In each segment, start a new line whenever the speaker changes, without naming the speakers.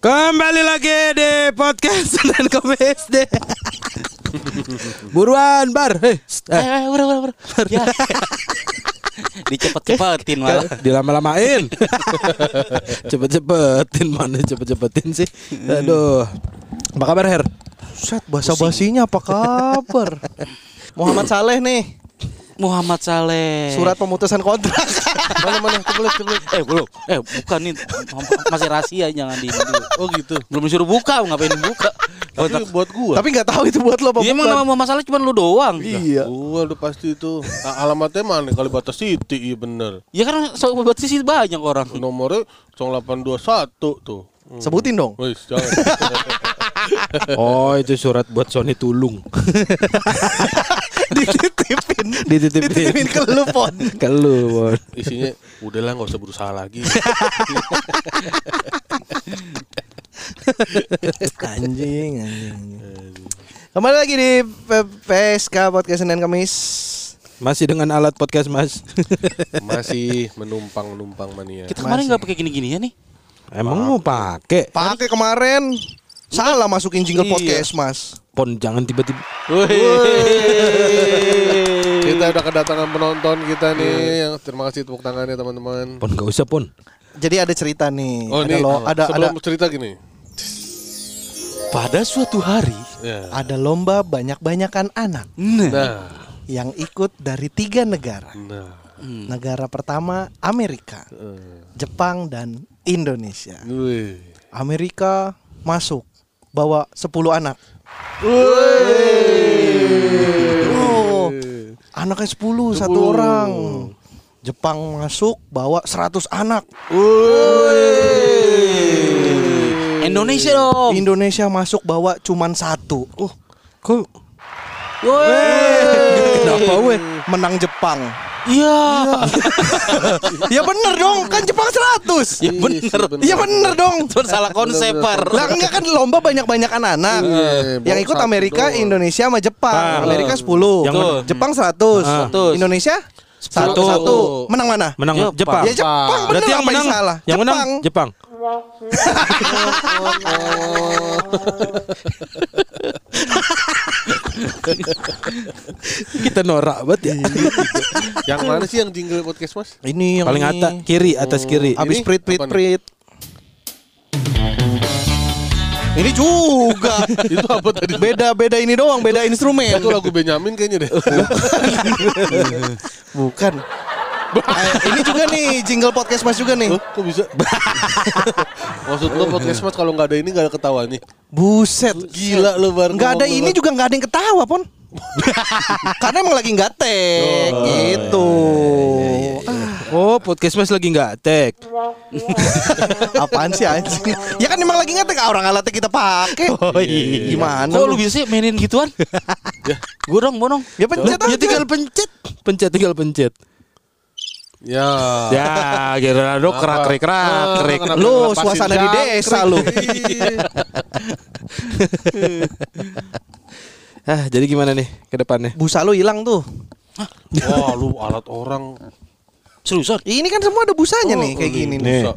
Kembali lagi di podcast Senin Kemis deh. Buruan bar. Hei, st- eh,
Eh, eh, udah, udah, udah. Ya. Dicepet-cepetin malah.
eh, dilama-lamain. Cepet-cepetin mana cepet-cepetin sih. Aduh. Apa kabar Her?
Set bahasa basinya apa kabar? Muhammad Saleh nih
Muhammad Saleh.
surat pemutusan kontrak. mana mana kebelet kebelet.
Eh, belum. Eh, bukan nih. Masih rahasia jangan di Oh gitu. Belum disuruh buka, ngapain buka?
Tapi buat
Oh,
gua.
Tapi nggak tahu itu buat lo apa
Iya, emang nama
bukan.
Muhammad Saleh cuma lu doang.
Iya.
Gua udah pasti itu. A- Alamatnya mana? Kalibata City, iya bener.
Ya kan sobat sih banyak orang.
Nomornya 0821 tuh. Hmm.
Sebutin dong.
Wis, jangan.
Oh, itu surat buat Sony Tulung.
Dititipin.
Dititipin.
Dititipin ke lu pon.
Ke lu, Bon.
Isinya udahlah nggak usah berusaha lagi.
Anjing, anjing. Kembali lagi di P- PSK Podcast Senin Kamis.
Masih dengan alat podcast, Mas.
Masih menumpang-numpang mania.
Kita kemarin nggak pakai gini-gini ya nih.
Emang mau pakai?
Pakai kemarin salah masukin jingle
Iya.
podcast, Mas.
Pon jangan tiba-tiba.
Kita udah kedatangan penonton kita nih.
Iya.
Yang terima kasih tepuk tangannya teman-teman.
Pon gak usah, Pon.
Jadi ada cerita nih. ada
Oh, ini
lo, ada
sebelum
ada
cerita gini.
Pada suatu hari,
Ya.
ada lomba banyak-banyakan anak
nah,
Nah,
yang ikut dari tiga negara.
nah.
Negara pertama Amerika, Jepang dan Indonesia.
Wih.
Amerika masuk bawa 10 anak. Oh, anaknya 10, satu orang. Jepang masuk bawa 100 anak.
Indonesia dong.
Indonesia masuk bawa cuman satu. Uh,
Kok
kenapa weh? Menang Jepang.
Iya.
ya bener dong, kan Jepang 100.
Iya,
Ya bener.
Ya bener dong.
Cuma salah konsep par.
Lah enggak kan lomba banyak-banyak anak.
Iya,
yang
bawa
ikut
satu
Amerika,
doang.
Indonesia sama Jepang.
Jepang.
Amerika 10,
Ah, Yang
Betul.
Jepang 100,
Ah.
100.
Indonesia
Satu.
satu. satu. Menang mana?
menang Jepang.
Jepang.
Ya Jepang. bener,
Berarti yang
apa
menang
salah?
Yang menang
Jepang.
Jepang. Kita norak banget ya.
Yang mana sih yang jingle podcast mas?
Ini yang
Paling
ini.
atas kiri, atas kiri.
Abis
Ini
prit prit
apa nih?
prit. Ini juga.
Itu apa tadi?
Beda-beda ini doang, beda instrumen.
Itu lagu Benyamin kayaknya deh.
Bukan. Eh, ini juga nih jingle podcast Mas juga nih.
Loh, kok bisa? Maksud lo podcast mas kalau nggak ada ini nggak ada ketawanya?
Buset.
Gila lo bareng.
Nggak ada
ngomong
ini
doang.
juga nggak ada yang ketawa pon. Karena emang lagi nggak tag gitu.
Oh, podcast Mas lagi nggak tag.
Apaan sih anjing? Ya kan emang lagi nggak tag orang alatnya kita pakai. Gimana?
Kok lu bisa sih mainin gituan? Gue dong, gua dong.
Ya pencet
Ya
aja.
tinggal pencet. Pencet tinggal pencet.
Ya.
Ya, kira lu kerak kerik kerak
Ah,
kerik.
kenapa
Lu
ngelepasin
suasana di
jangkrik?
desa lu.
Iya. Ah, jadi gimana nih ke depannya?
Busa lu hilang tuh.
Wah lu alat orang.
Seriusan?
Ini kan semua ada busanya
Oh,
nih kayak gini nih.
Nih.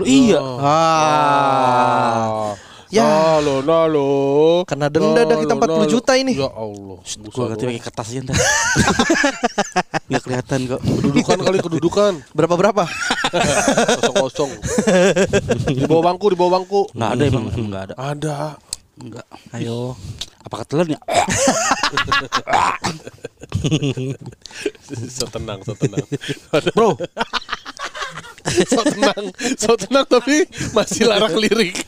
Lu iya.
Oh.
Ah. Ya.
Ya. Halo, halo.
Kena denda dah kita 40 juta ini.
Ya Allah.
Gue ganti pakai kertas aja ntar. Nggak kelihatan kok.
Kedudukan kali kedudukan.
Berapa berapa?
Kosong-kosong. di bawah bangku, di bawah bangku.
Nggak ada emang, emang nggak ada.
Ada.
Nggak. Ayo. Apa ketelan ya?
So tenang, so tenang. Bro. so tenang, so tenang tapi masih larak lirik.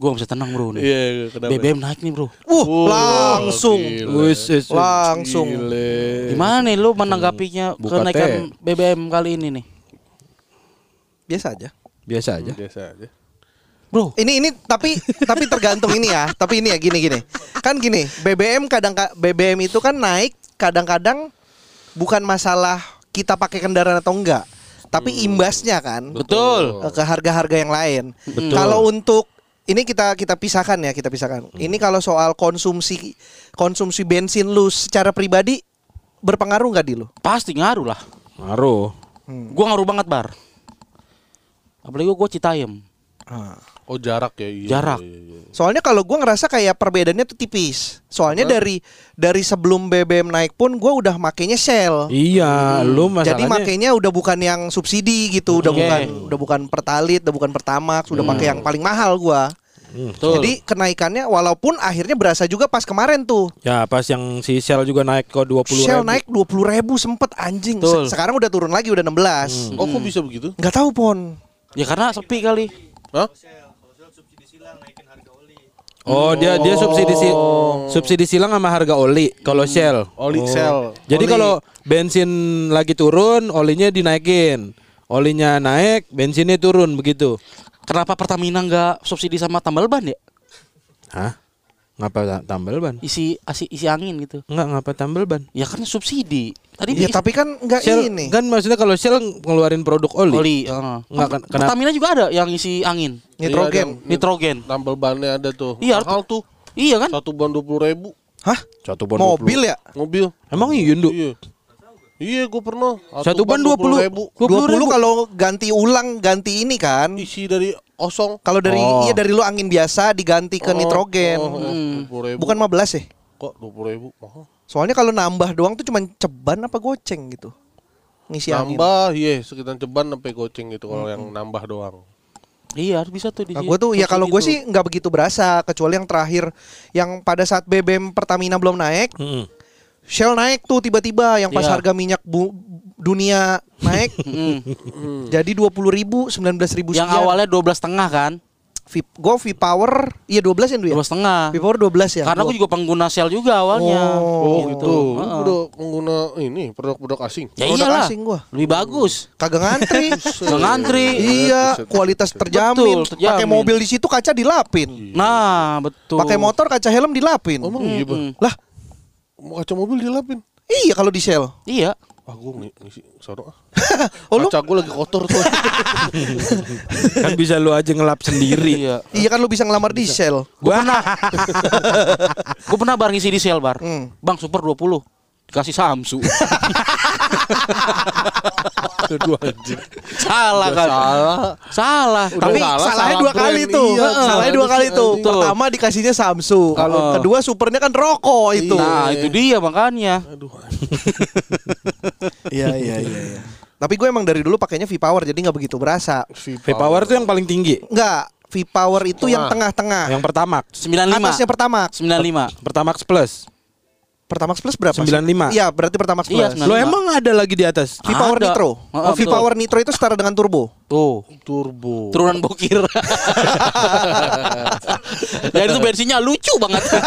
Gue nggak bisa tenang bro nih.
Iya, kenapa?
BBM naik nih bro.
Wuh,
Wah,
langsung.
gila.
Wis, wis, wis.
Langsung.
Gile.
Gimana nih lu menanggapinya
Buka teh.
kenaikan BBM kali ini nih?
Biasa aja.
Biasa aja.
Biasa aja.
Bro,
Ini ini tapi tapi tergantung ini ya. Tapi ini ya gini gini. Kan gini, BBM kadang ka- BBM itu kan naik kadang-kadang bukan masalah kita pakai kendaraan atau enggak, tapi imbasnya kan
betul.
ke harga-harga yang lain. Kalau untuk ini kita kita pisahkan ya, kita pisahkan. Ini kalau soal konsumsi konsumsi bensin lu secara pribadi berpengaruh nggak di lu?
Pasti ngaruh lah.
Ngaruh.
Gua ngaruh banget bar. Apalagi gua Citayam.
Oh jarak ya. Iya,
Jarak.
iya, iya.
Soalnya kalau gua ngerasa kayak perbedaannya tuh tipis. Soalnya dari dari sebelum BBM naik pun gua udah makainya Shell.
Iya, lu
Hmm. Jadi
masalahnya.
makainya udah bukan yang subsidi gitu, udah
Oke.
bukan udah bukan Pertalite, udah bukan Pertamax, udah pakai yang paling mahal gua.
Betul.
Jadi kenaikannya walaupun akhirnya berasa juga pas kemarin tuh.
Ya pas yang si Shell juga naik ke 20
Shell naik 20.000 ribu sempet anjing. Se-
Betul.
Sekarang udah turun lagi udah 16.
Oh kok bisa begitu?
Nggak tahu pon.
ya karena sepi kali.
Hah?
Oh, dia dia subsidi si- subsidi silang sama harga oli kalau Shell.
Oli
Oh.
sel.
Jadi
Oli.
kalau bensin lagi turun, olinya dinaikin. Olinya naik, bensinnya turun begitu.
Kenapa Pertamina nggak subsidi sama tambal ban ya?
Hah? Ngapa ta- tambal ban?
Isi asi, isi angin gitu.
Enggak, ngapa tambal ban?
Ya kan subsidi. Tadi
Ya
bis-
tapi kan nggak
Shell
ini.
kan maksudnya kalau Shell ngeluarin produk oli.
oli. heeh.
ya? Nggak, ken- kenapa?
Pertamina juga ada yang isi angin.
Nitrogen.
Iya,
Nitrogen.
Tambal bannya ada tuh.
Iya,
Mahal tuh.
Iya kan?
Satu ban dua puluh ribu.
Hah?
Satu ban
Mobil ya?
Mobil.
Emang iya, Yundu?
Iya. Iya, gue pernah.
Satu ban 20
ribu.
20
ribu.
kalau ganti ulang ganti ini kan.
Isi dari osong.
Kalau dari
Oh.
iya dari lu angin biasa diganti ke
Oh,
nitrogen.
Oh,
Bukan
Bukan
15 ya?
eh, kok dua puluh ribu mahal.
Soalnya kalau nambah doang tuh cuman ceban apa goceng gitu. Ngisi angin.
Nambah, iya sekitar ceban sampai goceng gitu kalau yang nambah doang.
Iya, harus bisa tuh di
Nah,
sini.
gue tuh ya kalau gue
Subsidi
sih nggak begitu berasa kecuali yang terakhir yang pada saat BBM Pertamina belum naik,
Mm-mm.
Shell naik tuh tiba-tiba yang pas
Iya.
harga minyak bu- dunia naik
tuh. Mm.
jadi dua puluh ribu sembilan belas ribu
yang awalnya 12 setengah kan?
gue V Power iya dua belas ya Du, ya
12 setengah.
V Power dua belas ya
Karena aku juga pengguna sel juga awalnya.
Oh,
Gitu.
Tuh, lu
Heeh.
Gitu. udah pengguna ini produk-produk asing.
Ya
Produk
iyalah.
asing gua.
Lebih bagus.
kagak ngantri
Nggak ngantri.
iya kualitas terjamin,
Betul, terjamin.
pakai mobil di situ kaca dilapin
Iya.
Nah, betul. Oh,
pakai motor kaca helm dilapin
Emang iya, Bang.
Mm-mm.
lah
Mau kaca mobil dilapin.
iya kalau di Shell
Iya.
Ah, gue ngisi sono ah.
oh lu
Kaca gue lagi kotor tuh.
kan bisa lu aja ngelap sendiri.
Iya.
iya kan lu bisa ngelamar di Shell
Gua pernah. gua pernah bar ngisi di sel bar.
Hmm.
Bang super 20. Dikasih Samsu.
Aduh anjing.
salah kan. Salah. Salah.
Udah
Tapi
salah,
salahnya
salah
dua
brand.
kali tuh.
Iya,
Heeh. salahnya
salahnya
dua kali
sih,
tuh.
anjing.
Pertama dikasihnya Samsung. Kalau
Heeh.
kedua supernya kan rokok itu.
Nah,
Iya.
itu dia makanya.
Aduh. anjing.
Iya iya iya. iya. Tapi gue emang dari dulu pakainya V Power jadi nggak begitu berasa.
V-Power tuh yang paling tinggi.
Nggak, V Power itu yang tengah-tengah.
Yang pertama.
95.
Atasnya Pertamax.
Oh.
95.
Pertamax Plus.
Pertamax Plus berapa? sih?
95.
Iya, berarti Pertamax
Iya,
Plus.
Nah,
Lo
95. lima.
emang ada lagi di atas?
V Power
Ada.
Nitro.
Heeh,
Oh, V
betul.
Power Nitro itu setara dengan turbo.
Tuh.
turbo.
Turunan bokir. Dan itu bensinnya lucu banget.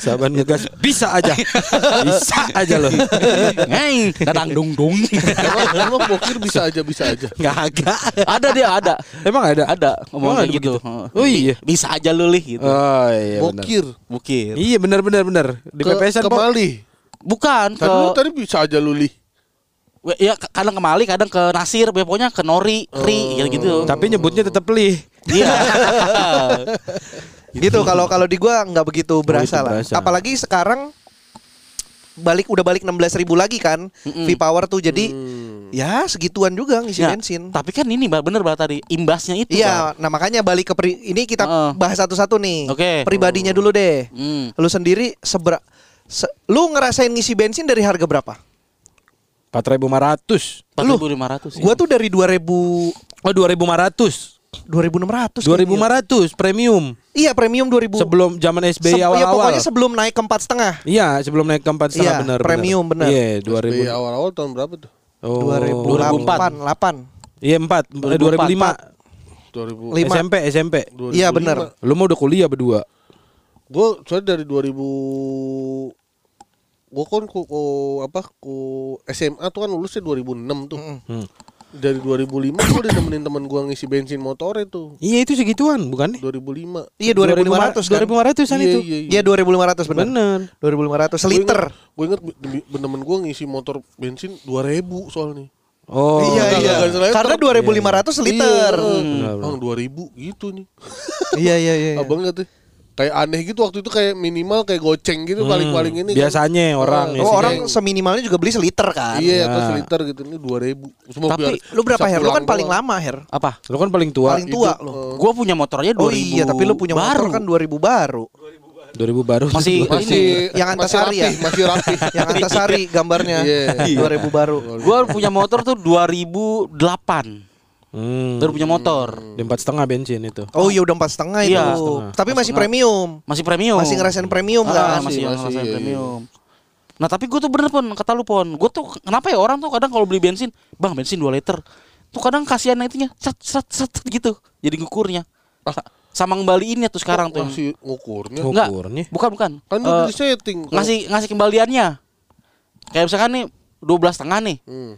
Saban ngegas bisa aja. bisa aja lo.
Ngeng, dadang dung dung.
Emang- Emang bokir bisa aja bisa aja.
Enggak agak.
ada dia ada.
Emang ada?
Ada ngomong
Emang
kayak
ada
gitu.
begitu?
Heeh.
Oh iya.
Bisa aja lu lih gitu.
Eh,
Oh iya benar.
Bokir.
Bukir.
Iya benar benar benar. Di
Ke-
pepesan
ke
Pok.
Mali.
Bukan
Tadi lu
ke
tadi bisa aja lu lih.
we- ya ke- kadang ke Mali, kadang ke Nasir, pokoknya ke Nori, Ri
Oh.
ya gitu.
Tapi nyebutnya tetap li.
Iya.
Gitu kalau kalau di gua nggak begitu berasa lah.
berasa.
Apalagi sekarang balik udah balik 16.000 lagi kan
Mm-mm.
V Power tuh jadi ya segituan juga ngisi
Ya,
bensin.
Tapi kan ini Mbak, bener Mbak tadi imbasnya itu. Mbak.
Iya, nah makanya balik ke pri- ini kita
Heeh.
bahas satu-satu nih.
Oke.
Pribadinya dulu deh.
Hmm.
Lu sendiri sebera se- lu ngerasain ngisi bensin dari harga berapa?
4500.
4500 ya.
Gua tuh dari 2000
Oh 2500.
2600. kayaknya.
2500 premium.
Iya, premium 2000.
Sebelum zaman
Se-
SBY
ya,
awal-awal.
pokoknya sebelum naik ke empat setengah.
Iya, sebelum naik ke 4
Iya,
setengah benar. benar.
premium, benar.
Iya,
Di
2000.
awal-awal tahun berapa tuh?
Oh.
2008, 8.
Iya, 4. 2005.
2000.
Lima.
SMP, SMP.
2005.
Iya, bener.
Lu mau udah kuliah berdua.
Gue soalnya dari 2000 gue kan ku, ku- apa ku SMA tuh kan lulusnya 2006 tuh.
Hmm.
Dari 2005 gue udah nemenin temen gue ngisi bensin motornya tuh.
Iya, itu segituan, bukan nih?
2005.
Iya 2500 kan.
2500-an
Iya,
itu.
iya,
Iya 2500 benar.
Bener.
2500 seliter.
Gue inget, gue inget temen gue ngisi motor bensin 2000 soalnya.
Oh.
iya
enggak,
iya.
enggak, enggak ada
Karena
liter.
2500
Hmm. Benar,
liter.
benar.
Iya. Bang 2000 gitu nih.
Iya iya iya. iya.
Abang nggak tuh? Kayak aneh gitu waktu itu kayak minimal kayak goceng gitu paling-paling ini. kan.
Hmm. Biasanya orang
Oh,
ya
Oh,
sih.
orang seminimalnya juga beli seliter kan.
Ya.
Iya, pas liter gitu ini 2000. Semua
Tapi
biar
Lu berapa
bisa
Her? Lu kan
pulang Eh,
paling
doang.
lama Her.
Apa?
Lu kan paling tua.
Paling tua
Hidup,
lo.
eh,
Gua punya motor aja 2000.
Oh iya, tapi lu punya
baru.
motor kan 2000 baru.
2000 baru.
Masih-
Dua-
Masih
Yang Antasari
masih
ya?
rapi, Masih rapi.
Yang antasari gambarnya.
Iya.
2000 baru.
Gua punya motor tuh 2008.
Hmm.
Baru punya motor.
Di empat setengah bensin itu.
Oh iya udah empat setengah itu.
Iya.
Tapi masih
Setengah.
Ah.
premium.
Masih premium.
Masih ngerasain premium
Ah,
kan?
masih,
Masih,
ngerasain
masih, iya,
premium. Nah tapi gue tuh bener pon kata lu pon, gue tuh kenapa ya orang tuh kadang kalau beli bensin, bang bensin 2 liter, tuh kadang kasihan itunya, set set set set gitu, jadi ngukurnya, Sa- sama ngembaliinnya tuh sekarang tuh,
Ah. masih ngukurnya.
Oh.
enggak,
Ngukurnya?
bukan bukan,
Kan
Eh,
udah di setting. kalau-
ngasih ngasih kembaliannya, kayak misalkan nih 12 setengah nih,
Hmm.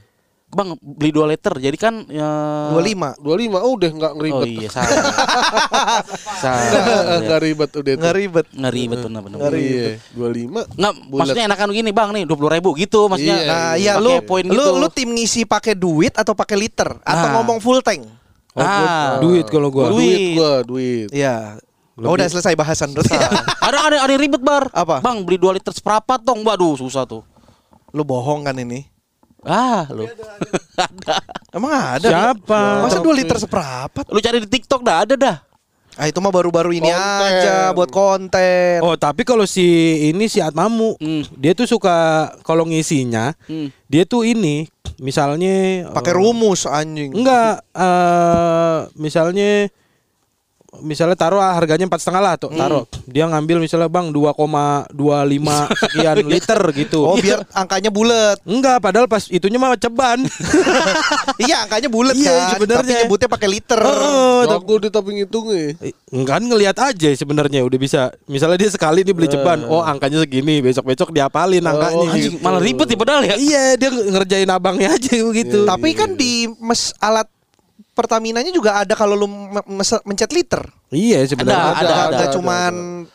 bang beli 2 liter, jadi kan ya
25.
25 oh udah nggak
oh
ngeribet.
iya salah,
Nggak-
Iya.
salah,
Nggak ribet udah itu.
Nggak ribet.
nggak ribet bener bener.
Ngeri. Iya, 25.
Nggak, maksudnya enakan gini bang nih dua ribu gitu maksudnya.
Iya,
Nah,
iya.
iya
Pakai
lu
poin
lu
gitu.
lu tim ngisi pakai duit atau pakai liter atau
Nah.
ngomong full tank?
Oh, gua-
Ah.
duit kalau gua.
Duit.
Duit gua, duit.
Iya. Oh, udah selesai bahasan berarti.
ada ada ada yang ribet bar.
Apa?
Bang beli 2 liter seperempat dong. Waduh susah tuh.
lu bohong kan ini?
Ah lu. ada.
Emang ada?
Siapa?
Masa 2 liter seperempat?
Lu cari di TikTok dah ada dah.
Ah itu mah baru-baru ini
Konten.
aja buat konten.
Oh tapi kalau si ini si Atmamu
Hmm.
dia tuh suka kalau ngisinya
Hmm.
dia tuh ini misalnya eh,
Pakai rumus anjing.
enggak eh misalnya misalnya taruh ah, harganya empat setengah lah tuh taruh dia ngambil misalnya bang 2,25 sekian liter gitu
Oh biar angkanya bulat.
enggak padahal pas itunya mah ceban
iya angkanya bulat
Iya,
kan. Tapi
sebenarnya.
nyebutnya pakai liter.
Heeh,
Nah,
tapi-
gua di tapi ngitungnya.
Oh, Eh, Enggak kan ngelihat aja sebenarnya udah bisa. Misalnya dia sekali dia beli ceban, oh angkanya segini, besok-besok diapalin angkanya.
Oh,
Anjing
gitu.
malah ribet ya padahal ya.
Iya, dia ngerjain abangnya aja gitu. begitu.
Tapi kan di mes alat Pertamina-nya juga ada kalau lu me- mes- mencet liter.
Iya sebenarnya.
Ada, ada,
Nggak
ada,
cuman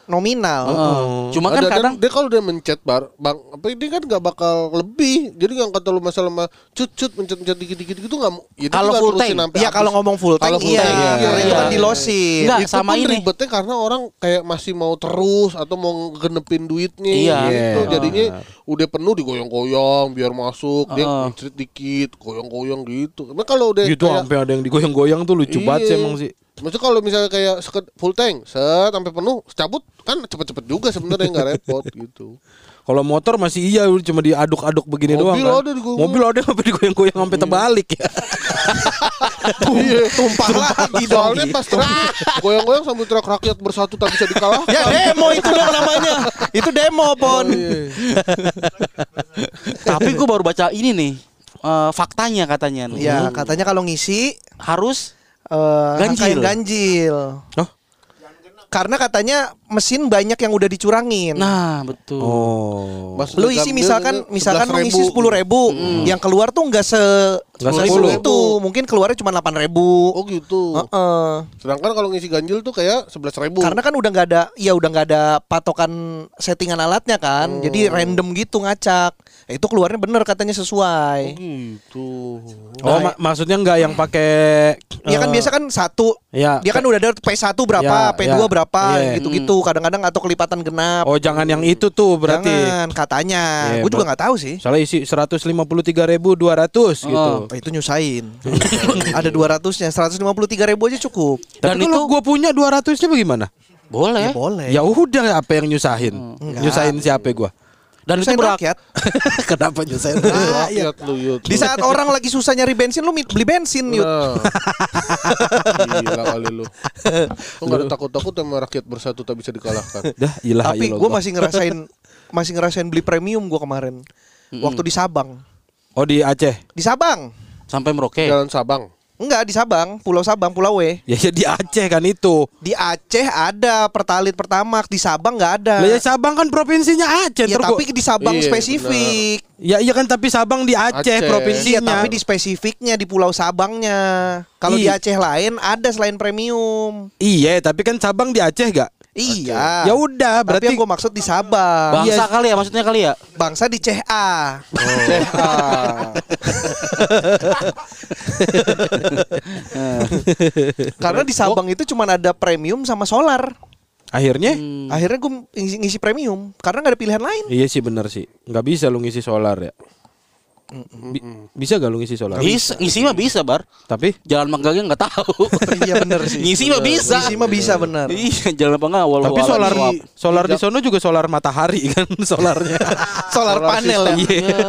nominal.
Heeh. Cuma kan
Ada- dan
kadang
dia kalau udah mencet bar, bang, apa dia kan nggak bakal lebih. Jadi nggak kata lu masalah mah cut-cut mencet-mencet dikit-dikit gitu nggak. mau- ya dia
Kalau
nggak
full
terusin
tank.
sampai
Iya
habis.
kalau ngomong full tank
Kalau full
iya,
tank, iya.
karena itu
Iya.
kan di losin.
Nggak,
itu
sama
pun
ini.
ribetnya karena orang kayak masih mau terus atau mau genepin duitnya
Iya.
gitu.
Iya.
Jadinya udah penuh digoyang-goyang biar masuk, dia
Heeh.
mencret dikit, goyang-goyang gitu. Emang kalau udah
gitu
kayak-
sampai ada yang digoyang-goyang tuh lucu banget sih
Iya.
emang sih.
Maksudnya kalau misalnya kayak seket- full tank, set sampai penuh, cabut kan cepet-cepet juga sebenarnya nggak repot gitu.
Kalau motor masih iya cuma diaduk-aduk begini
Mobil
doang.
ada
kan.
digoyang.
Mobil ada sampai digoyang-goyang sampai terbalik ya.
Iya.
Tumpah lagi dong.
Soalnya pas truk goyang-goyang sambil truk rakyat bersatu tak bisa dikalahkan.
Ya demo itu dong namanya. Itu demo pon.
Oh, iya. tapi gue baru baca ini nih. eh, faktanya katanya nih.
Iya katanya kalau ngisi
Harus
eh ganjil.
Ganjil.
ganjil.
Hah?
Karena katanya mesin banyak yang udah dicurangin.
nah betul.
Oh.
Pas
lu isi
digambil
misalkan
itu
misalkan lu
11.000.
isi sepuluh ribu, yang keluar tuh nggak se
Hmm. Nggak
ribu
10.000.
itu, mungkin keluarnya cuma delapan ribu.
Oh gitu. Sedangkan kalau ngisi ganjil tuh kayak 11.000 ribu.
Karena kan udah nggak ada, ya udah nggak ada patokan settingan alatnya
Oh.
kan, jadi random gitu ngacak. Ya, itu keluarnya bener katanya sesuai.
gitu.
Oh, ma- maksudnya enggak yang pakai
Ya Nah, kan
eh,
biasa kan satu,
ya.
dia kan udah ada P1 berapa,
Ya,
P2
ya.
berapa,
Iya.
gitu-gitu. Kadang-kadang atau kelipatan genap.
Oh, jangan yang itu tuh berarti.
Jangan katanya.
Iya,
gue juga
ber-
nggak tahu sih.
Soalnya isi 153.200 gitu.
Oh, itu nyusahin. Ada 200-nya, 153 ribu aja cukup.
Dan
Dan
kalau
itu-
gua punya 200-nya bagaimana?
Boleh.
Ya boleh.
Ya udah apa yang nyusahin?
Hmm,
Nyusahin siapa gua?
Dan itu
Nyusahin
berak.
rakyat.
Kenapa nyusahin?
Rakyat Nah, lu yut.
Ah, iya. Di saat orang lagi susah nyari bensin, lu mi- beli bensin yuk.
Nah. Gila kali lu. Lu enggak ada takut-takut sama rakyat bersatu tak bisa dikalahkan.
Dah, ilah
Tapi gue masih ngerasain masih ngerasain beli premium gue kemarin. Waktu di Sabang.
Oh di Aceh.
Di Sabang.
Sampai
Eh.
Merauke.
Iya.
Jalan Sabang.
Enggak di Sabang, Pulau Sabang, Pulau W.
Ya, ya di Aceh kan itu.
Di Aceh ada Pertalit Pertamax, di Sabang nggak ada.
Lah ya Sabang kan provinsinya Aceh.
Nah. Ya
Ntar
tapi
gua-
di Sabang
Iya,
spesifik.
ya iya kan tapi Sabang di Aceh,
Aceh.
provinsinya.
Iya tapi di spesifiknya di Pulau Sabangnya. Kalau di
Iya.
Aceh lain ada selain premium.
Iya, tapi kan Sabang di Aceh gak?
Iya.
Ya udah,
Berarti
berarti
yang gue maksud di Sabang.
Bangsa
Iya.
kali ya maksudnya kali ya.
Bangsa di CA. Karena di Sabang itu cuma ada premium sama solar.
akhirnya
Hmm.
Akhirnya gue ngisi, ngisi premium karena nggak ada pilihan lain.
iya sih bener sih. nggak bisa lu ngisi solar ya. Bi- bisa gak lu ngisi solar?
Bisa, ngisi mah bisa, Bar.
Tapi
Jalan manggangnya nggak tahu.
Iya bener sih.
Ngisi mah bisa.
Ngisi mah bisa bener.
Iya, jalan apa enggak walau
tapi solar
walau.
solar di sono juga solar matahari kan solarnya. Iya.
Solar panel ya.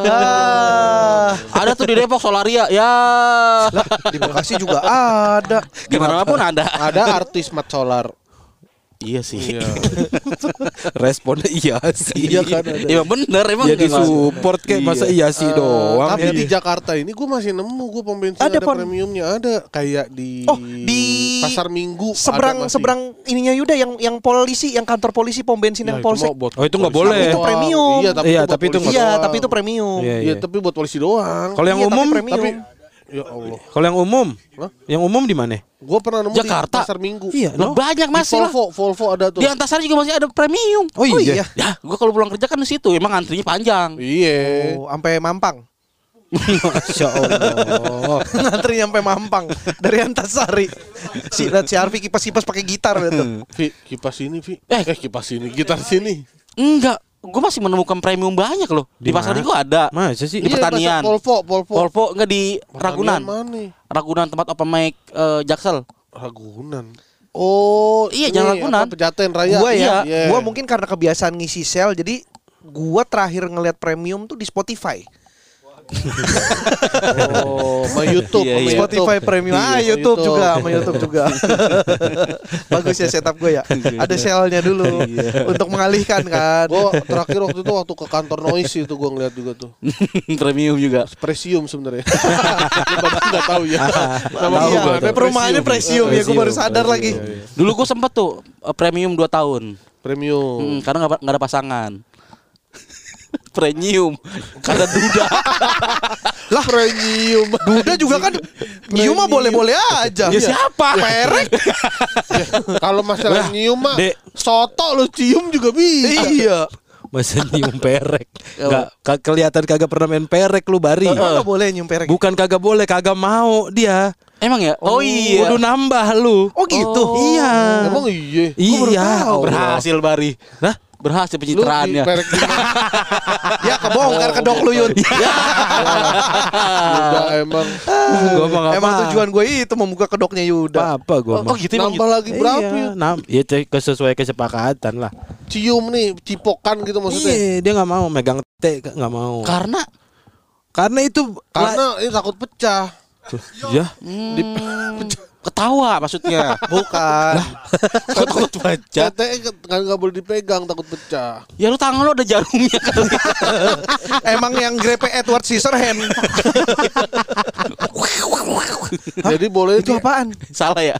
Ah,
ada tuh di Depok Solaria ya.
di Bekasi juga ada.
Gimana pun ada.
Ada artis mat solar.
Iya sih.
Responnya iya sih.
Iya kan ada.
Emang bener emang
Jadi
nggak masuk.
support kayak masa iya sih
Eh,
doang.
Tapi
ya.
di Jakarta ini gue masih nemu gue pom bensin
Ada,
ada,
Pon.
premiumnya ada kayak di
Oh, di-
pasar Minggu ada
Seberang
masih.
seberang ininya Yuda yang yang polisi, yang kantor polisi pom bensin
Ya,
yang
itu
polsek.
mah buat
Oh, itu nggak
polisi
boleh.
Itu premium.
Iya tapi
Iya,
itu buat
tapi itu
polisi
nggak-
Iya,
doang.
tapi itu premium.
Iya,
Iya
iya.
tapi buat polisi doang.
Kalau yang
Iya, tapi
umum,
premium.
tapi ya Allah.
kalau yang umum,
Hah?
yang umum di mana?
Gue pernah nemu
Jakarta.
di pasar Minggu.
Iya,
Lah, banyak
Di
masih lah.
Volvo, Volvo ada tuh.
Di Antasari juga masih ada premium.
Oh
Oh
iya.
iya.
Ya, gua kalau pulang kerja kan di situ emang antrinya panjang.
Iya.
Oh, sampai Mampang.
Masya Allah.
Oh, Ngantri sampai Mampang dari Antasari. Si lihat si Arfi kipas-kipas pakai gitar gitu.
Vi, kipas sini, Vi.
Eh.
Eh, kipas sini, gitar sini.
Enggak, gua masih menemukan premium banyak loh. Di,
Di
pasar
mana?
Minggu ada.
Masa sih?
Di
Iya,
pertanian.
pasar Volvo, Volvo.
Volvo enggak di
Pertanian
Ragunan.
Mana?
Ragunan tempat open mic eh, Jaksel.
Ragunan. Oh,
Iya,
ini
jangan
apa,
Ragunan.
Pejaten Raya.
Gua ya,
Iya.
gua mungkin karena kebiasaan ngisi sel jadi gua terakhir ngelihat premium tuh di Spotify.
Oh, sama YouTube,
Iya, iya.
sama YouTube.
Spotify premium.
Iya,
Ah,
sama
YouTube juga, sama YouTube juga. Bagus ya setup gue ya. Ada selnya dulu untuk mengalihkan kan.
Gua terakhir waktu itu waktu ke kantor noise itu gua ngeliat juga tuh.
premium juga.
Presium sebenarnya. Lu pada nggak tahu ya.
Tahu
Iya,
Nama
gua
perumahannya
tuh.
perumahannya
Presium.
premium ya, gua baru sadar lagi.
Dulu gua sempet tuh eh, premium 2 tahun. Hmm,
Premium.
karena nggak nggak ada pasangan. premium karena duda.
Lah premium.
Duda juga kan nyium mah boleh-boleh aja.
ya siapa?
Perek.
Kalau masalah nyium mah
Dek.
soto lu cium juga bisa.
Iya.
Masa nyium perek. Nggak ka- kelihatan kagak pernah main perek lu bari.
Emang nggak boleh nyium perek.
Bukan kagak boleh, kagak mau dia.
Emang ya? Oh, iya.
Kudu nambah lu.
Oh gitu.
Iya.
Emang iya.
iya. Allah.
berhasil Bari.
Hah?
Berhasil
Lu di
pencitraannya.
perek di
ya kebongkar kedok lu Yun.
Iya,
Udah emang
Gua mah nggak
Emang
apa.
tujuan gue itu membuka kedoknya Yuda.
apa gua
Oh,
mah.
oh gitu emang
nambah
gitu?
lagi berapa
Iya,
ya?
nam- ya cek sesuai kesepakatan lah.
Cium nih, cipokan gitu maksudnya.
Iya, dia nggak mau megang tete nggak mau.
Karena
Karena itu
Karena ini takut pecah.
ya
hmm, ketawa maksudnya.
Bukan.
Takut baca.
Tete kan nggak boleh dipegang takut pecah.
Ya lu tangan lu ada jarumnya kan? kali.
Emang yang grepe Edward Scissorhand.
Jadi boleh
itu
dia-
apaan?
Salah ya.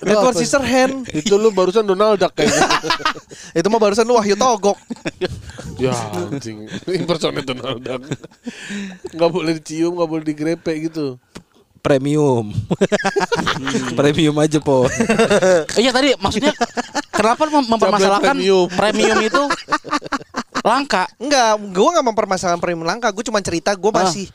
Edward Scissorhand.
Itu lu barusan Donald Duck kayaknya.
Itu mah barusan lu Wahyu Togok.
ya anjing. Impersonate Donald Duck. Nggak boleh dicium, nggak boleh digrepe gitu.
premium. premium aja, Po.
Iya tadi maksudnya kenapa lu mem- mempermasalahkan
premium.
premium itu langka?
Enggak, gue nggak mempermasalahkan premium langka. Gue cuma cerita
Ah.
gue masih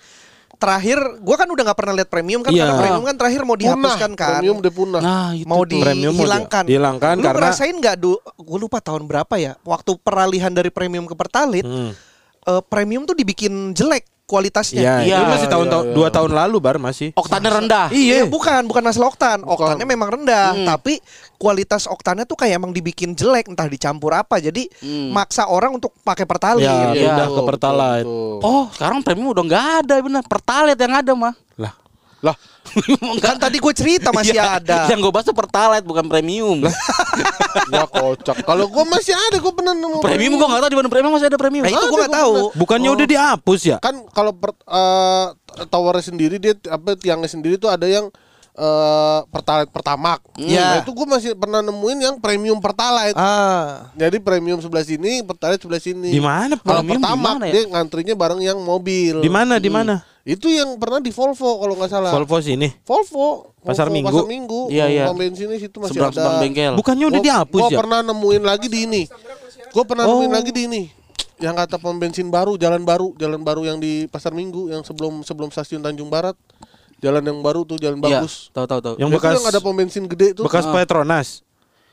terakhir gue kan udah nggak pernah lihat premium kan
Iya.
karena premium kan terakhir mau dihapuskan kan
Premium udah punah.
Nah, itu
mau
tuh. Premium mau di-
dihilangkan
dihilangkan
lu
karena-
ngerasain nggak du gue lupa tahun berapa ya waktu peralihan dari premium ke pertalite
Hmm.
eh, premium tuh dibikin jelek kualitasnya.
Iya,
Iya, Oh, ah,
ini masih tahun-tahun
iya, iya.
dua tahun lalu bar masih.
oktannya rendah.
Iya, bukan, bukan masalah oktan. Oktannya memang rendah, tapi kualitas oktannya tuh kayak emang dibikin jelek, entah dicampur apa. Jadi maksa orang untuk pakai pertalite.
Ya,
Iya,
pindah ke
betul,
Pertalite.
betul.
Oh, sekarang premium udah nggak ada bener. Pertalite yang ada mah.
Lah,
Lah,
Kan tadi gue cerita masih
Iya,
ada.
Yang gue bahas tuh pertalite bukan premium.
ya kocak. Kalau gua masih ada, gua pernah nemu
premium gue nggak tahu di mana premium masih ada premium.
Nah, itu gue nggak tahu.
bukannya udah dihapus ya?
kan kalau per, eh, t- towernya sendiri dia t- apa tiangnya sendiri tuh ada yang eh pertalite pertamak.
Iya.
Nah, itu gue masih pernah nemuin yang premium pertalite.
Ah.
Jadi premium sebelah sini, pertalite sebelah sini.
Di mana
Kalau
Premium di
pertamak
mana ya?
dia ngantrinya bareng yang mobil.
Di mana? Di mana?
Itu yang pernah di Volvo kalau nggak salah.
Volvo sini.
Volvo
Pasar
Volvo,
Minggu.
Pasar Minggu.
Iya, iya.
Pom bensin di situ masih
seberang
ada.
seberang bengkel.
Bukannya udah
Gua-
dihapus
gua
ya?
pernah nemuin lagi di ini. Gue pernah
Oh.
nemuin lagi di ini. Yang kata pom bensin baru, jalan baru, jalan baru yang di Pasar Minggu yang sebelum sebelum stasiun Tanjung Barat. Jalan yang baru tuh jalan
Iya,
bagus.
Tahu tahu tahu.
Yang
Yang
bekas
yang ada pom bensin gede tuh.
bekas
Ah.
Petronas.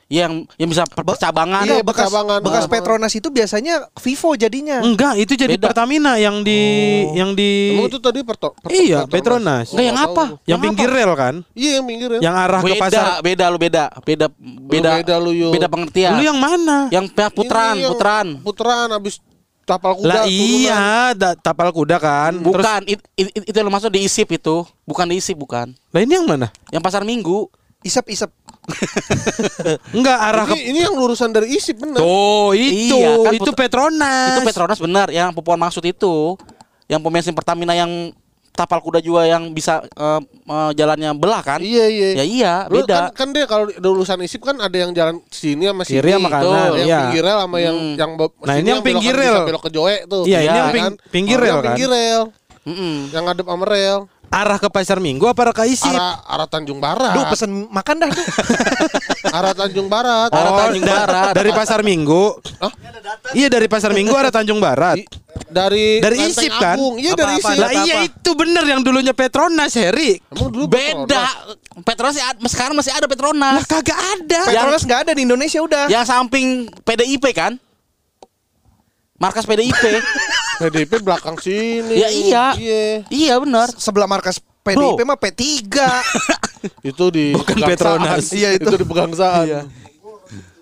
Iya, yang yang bisa per- percabangan.
Iya,
Iya, bekas
percabangan.
bekas
Ah.
Petronas itu biasanya Vivo jadinya.
Enggak, itu jadi
Beda.
Pertamina yang di yang di
Emang itu tadi perto, perto-
Iya, Petronas.
Enggak yang
Nggak tahu
apa?
gua.
yang pinggir rel kan?
Iya, yang pinggir ya.
Yang arah
beda,
ke pasar.
beda lu beda, beda beda
beda lu, Yo.
beda pengertian.
Lu yang mana?
iya. yang pe- putaran,
Ini yang
putaran.
Putaran habis tapal
lah
kuda. turunan.
iya, da- tapal kuda kan. Terus
Bukan it- it- it- itu yang lu maksud diisip itu, bukan diisip bukan.
lah ini yang mana?
Yang pasar Minggu.
Isep-isep.
Enggak arah
Ini, nah.
ke
ini yang lurusan dari isip benar.
Tuh, itu
Iya, kan
itu
put-
Petronas.
Itu Petronas benar yang Pupuan maksud itu. Yang pom bensin Pertamina yang tapal kuda juga yang bisa eh, eh, jalannya belah kan?
Iya, iya.
Ya iya,
Lu
beda.
Kan, kan dia kalau di- lulusan isip kan ada yang jalan sini sama sini.
Kiri sama
tuh.
kanan,
Yang
iya.
pinggir rel sama yang
Hmm.
yang bo-
Nah, ini
sini
yang
belok
pinggir
kan bisa
rel.
Belok ke Joe tuh.
Iya,
ini
Ya
yang
ping- pinggir
Yang
rel kan.
Pinggir rel.
Mm-mm.
Yang ngadep sama rel.
Arah ke pasar Minggu apa arah ke Isip?
Arah arah Tanjung Barat.
Duh, pesen makan dah tuh.
Arah Tanjung Barat.
Arah
Oh,
Tanjung
da-
Barat.
Dari pasar Minggu. Iya dari pasar Minggu arah Tanjung Barat.
I- dari
Dari Isip,
Lenteng
kan?
Agung. Iya dari
Apa-apa,
isip.
Lah iya itu bener yang dulunya Petronas Heri.
Emang dulu
Beda. Petronas ya- sekarang masih ada Petronas.
Lah kagak ada.
Kan Petronas nggak ada di Indonesia udah.
Yang samping PDIP kan? Markas PDIP.
Petronas. PDP belakang sini.
ya iya.
Iya.
Iya benar.
Sebelah markas PDIP
Bro.
mah P3.
Itu di
Bukan
Pegangsaan.
Petronas.
Iya itu, di Pegangsaan.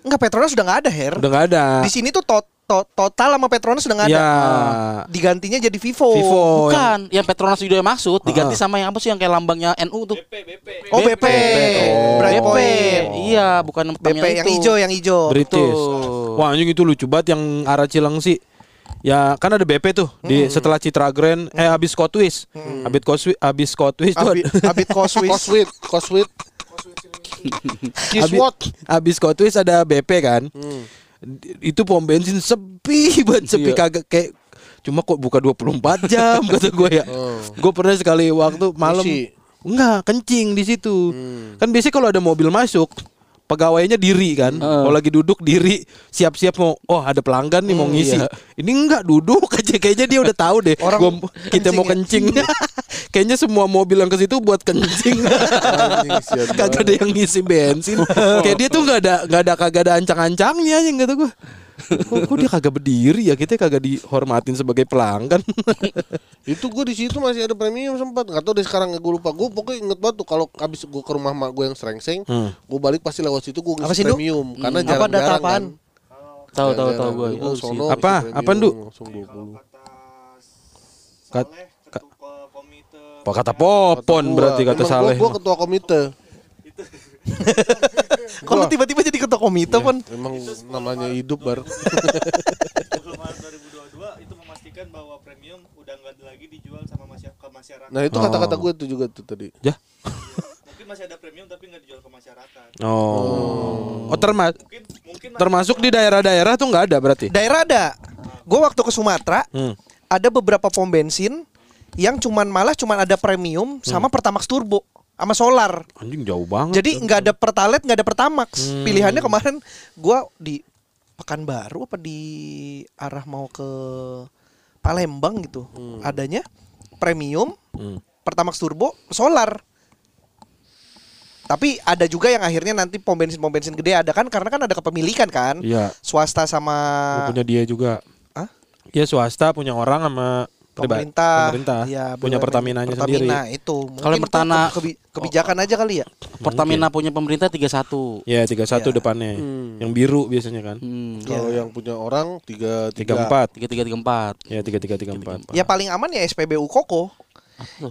Enggak Petronas udah nggak ada, Her.
Udah nggak ada.
Di sini tuh to- to- total sama Petronas udah nggak ada.
Ya.
Digantinya jadi Vivo.
Vivo. Oh,
Bukan, yang, Petronas juga yang maksud diganti sama yang apa sih yang kayak lambangnya NU tuh?
Oh, BP.
Oh.
Bright
BP.
Point.
Iya, bukan yang
BP
Pertamina
yang
itu.
hijau, yang hijau.
British.
Betul.
Wah anjing itu lucu banget yang arah Cilengsi. Ya kan ada BP tuh di setelah Citra Grand eh habis Kotwis. Habis Kotwis Hmm. habis Kotwis tuh.
Abit, Abit Coswis.
Coswit, Coswit. Kiswot.
Habis, habis Kotwis ada BP kan.
Hmm.
D- Itu pom bensin sepi banget sepi
Iya.
kagak kayak cuma kok buka 24 jam kata gue ya. Gue pernah sekali waktu malam
Isi.
enggak kencing di situ. Kan biasanya kalau ada mobil masuk pegawainya diri kan. Kalau lagi duduk diri siap-siap mau oh ada pelanggan nih mau ngisi. Ini enggak duduk aja kayaknya dia udah tahu deh
Orang
gua- kita mau kencing. kayaknya semua mobil yang ke situ buat kencing. kagak ada yang ngisi bensin. Kayak dia tuh nggak ada nggak ada kagak ada ancang-ancangnya yang gitu gua. Kok, kok dia kagak berdiri ya kita kagak dihormatin sebagai pelanggan.
Itu gue di situ masih ada premium sempat. Enggak tahu deh sekarang gue lupa. Gue pokoknya inget banget tuh kalau habis gue ke rumah mak gue yang serengseng,
Hmm.
gue balik pasti lewat situ gue
Apa sih,
ngisi
Du?
premium karena
Apa
jarang-jarang
data apaan?
kan.
Tahu tahu tahu
Jarang-jarang.
gue.
Gua sono
Apa?
ngisi premium,
Apaan, Du?
Langsung 20.
Kat, ka- Pak kata popon
Gua-
berarti kata
emang gua-
Saleh.
Gua ketua komite.
Kok lu tiba-tiba jadi ketua komite, Pon?
Emang namanya hidup bar.
10 Maret 2022 itu memastikan bahwa premium udah nggak lagi dijual sama masyarakat ke masyarakat.
Nah, itu kata-kata gue itu juga tuh tadi.
Ya.
Mungkin masih ada premium tapi nggak dijual ke masyarakat.
Oh. Oh termas
Mungkin mungkin
termasuk di daerah-daerah tuh nggak ada berarti.
Daerah ada. Gue waktu ke Sumatera,
Hmm.
ada beberapa pom bensin yang cuman malah cuman ada premium sama Pertamax turbo sama solar.
Anjing jauh banget.
Jadi nggak ada pertalite, nggak ada Pertamax.
Hmm.
Pilihannya kemarin gua di Pekanbaru apa di arah mau ke Palembang gitu.
Hmm.
Adanya premium, Pertamax turbo, solar. Tapi ada juga yang akhirnya nanti pom bensin pom bensin gede ada kan karena kan ada kepemilikan kan.
Iya.
Swasta
Lu
sama
punya dia juga.
Hah?
Ya swasta punya orang sama priba-
pemerintah,
pemerintah.
Iya,
punya
BUMN.
Pertaminanya sendiri.
Pertamina itu mungkin
yang
itu
pertana-
ke- kebi- kebijakan aja kali ya
Pertamina punya pemerintah 31.
Ya 31
Iya.
depannya. Yang biru biasanya kan.
Hmm.
Kalau yang punya orang tiga tiga
34.
3334.
Ya 3334.
ya paling aman ya SPBU Koko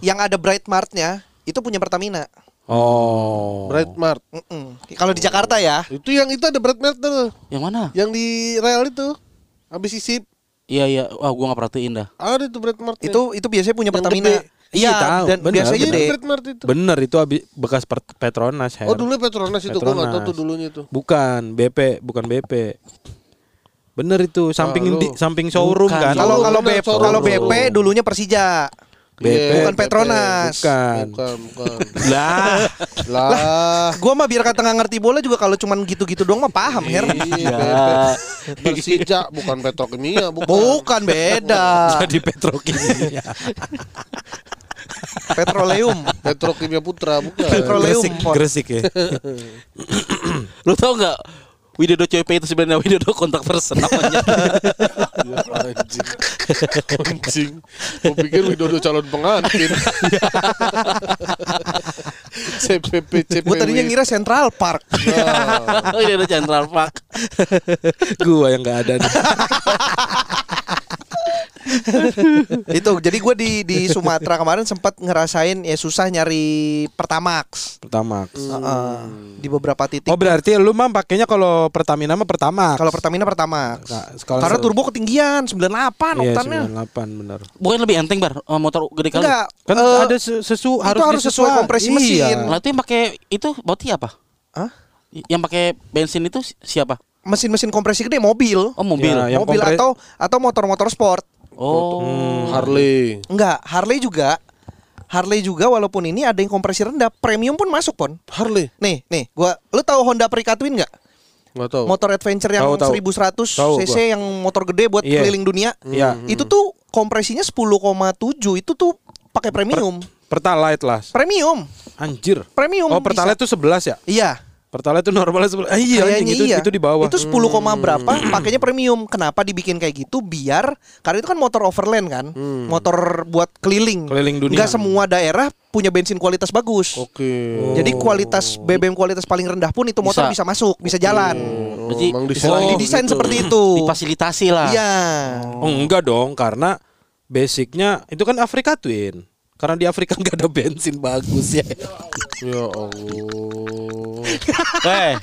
yang ada Bright Mart-nya itu punya Pertamina
Oh.
Bright Mart.
Mm-mm. kalau di Jakarta ya
Itu yang itu ada Bright Mart tuh.
Yang mana?
Yang di rel itu. Habis isip
Iya iya, wah gua enggak perhatiin dah.
ada tuh Bright Mart.
itu itu biasanya punya
Yang
Pertamina
gede.
Iya, tahu.
dan
Bener,
biasanya
bener.
gede.
Trademark itu.
Bener itu abi- bekas per- Petronas. Her.
Oh dulu Petronas itu gua nggak tahu
Petronas.
tuh dulunya tuh.
Bukan BP, bukan BP. Bener itu samping
lu.
di- samping showroom kan.
Bukan.
Kalau
Showroom,
kalau
bener,
BP
showroom.
kalau BP dulunya Persija.
BP.
Iya, Bukan Petronas.
Bukan.
Iya, Bukan, bukan.
Lah,
lah.
Ah, Gua mah biar kata nggak ngerti bola juga kalau cuman gitu-gitu doang mah paham her.
Iya,
Ya.
BP. Persija bukan Petrokimia, bukan.
Bukan beda.
jadi petrokimia.
Petroleum.
Petrokimia Putra bukan.
Petroleum
Gresik,
Port.
Gresik ya.
Lu tau nggak Widodo CP itu sebenarnya Widodo kontak person namanya.
Ya, anjing. Anjing. Gua pikir Widodo calon pengantin. CPP CPW.
Gua tadinya ngira Central Park.
Nah,
Widodo Central Park.
Gua yang nggak ada nih.
Itu jadi gua di di Sumatera kemarin sempat ngerasain ya susah nyari Pertamax.
Pertamax.
Heeh. di beberapa titik.
Hmm. Oh berarti lu mah pakainya kalau Pertamina mah Pertamax.
Kalau Pertamina Pertamax.
Nah, kalau-
Karena turbo kan ketinggian 98
Iya,
oktannya.
98 bener.
Bukan lebih enteng bar eh, motor gede kali.
Enggak.
Kan
eh,
ada sesu
itu harus sesuai kompresi
Iya.
mesin.
Lah itu yang pakai itu boti apa?
Hah?
Y- Yang pakai bensin itu si- siapa?
mesin-mesin kompresi gede mobil.
Oh mobil.
Ya, yang
mobil
kompre-
atau atau motor-motor sport.
Oh.
Hmm. Harley.
Enggak, Harley juga. Harley juga walaupun ini ada yang kompresi rendah, premium pun masuk pon.
Harley.
Nih, nih, gua lu tahu Honda Africa Twin enggak?
Enggak tahu.
Motor adventure yang
Tahu, tahu.
1100
Tahu
cc
gua.
yang motor gede buat
Iya.
keliling dunia.
Iya.
Itu tuh kompresinya 10,7 itu tuh pakai premium.
Pertalite lah.
premium.
Anjir.
Premium.
Oh
bisa.
Pertalite tuh 11 ya?
Iya.
Pertalite tuh normalnya 11. Ah, iya
Kayaknya
anjing, itu
iya.
itu di bawah. Hmm.
Itu 10, koma berapa pakainya premium. Kenapa dibikin kayak gitu? Biar karena itu kan motor overland kan. Motor buat keliling.
Hmm. Keliling dunia.
Nggak semua daerah punya bensin kualitas bagus.
Oke.
Jadi kualitas BBM kualitas paling rendah pun itu motor
Bisa.
bisa, masuk, bisa jalan.
Hmm.
Oh,
Berarti
emang
Oh,
Didesain
gitu.
seperti itu.
Difasilitasi lah.
Iya.
Oh, enggak dong, karena basicnya itu kan Afrika Twin. Karena di Afrika nggak ada bensin bagus ya.
Ya Allah.
Weh, Eh,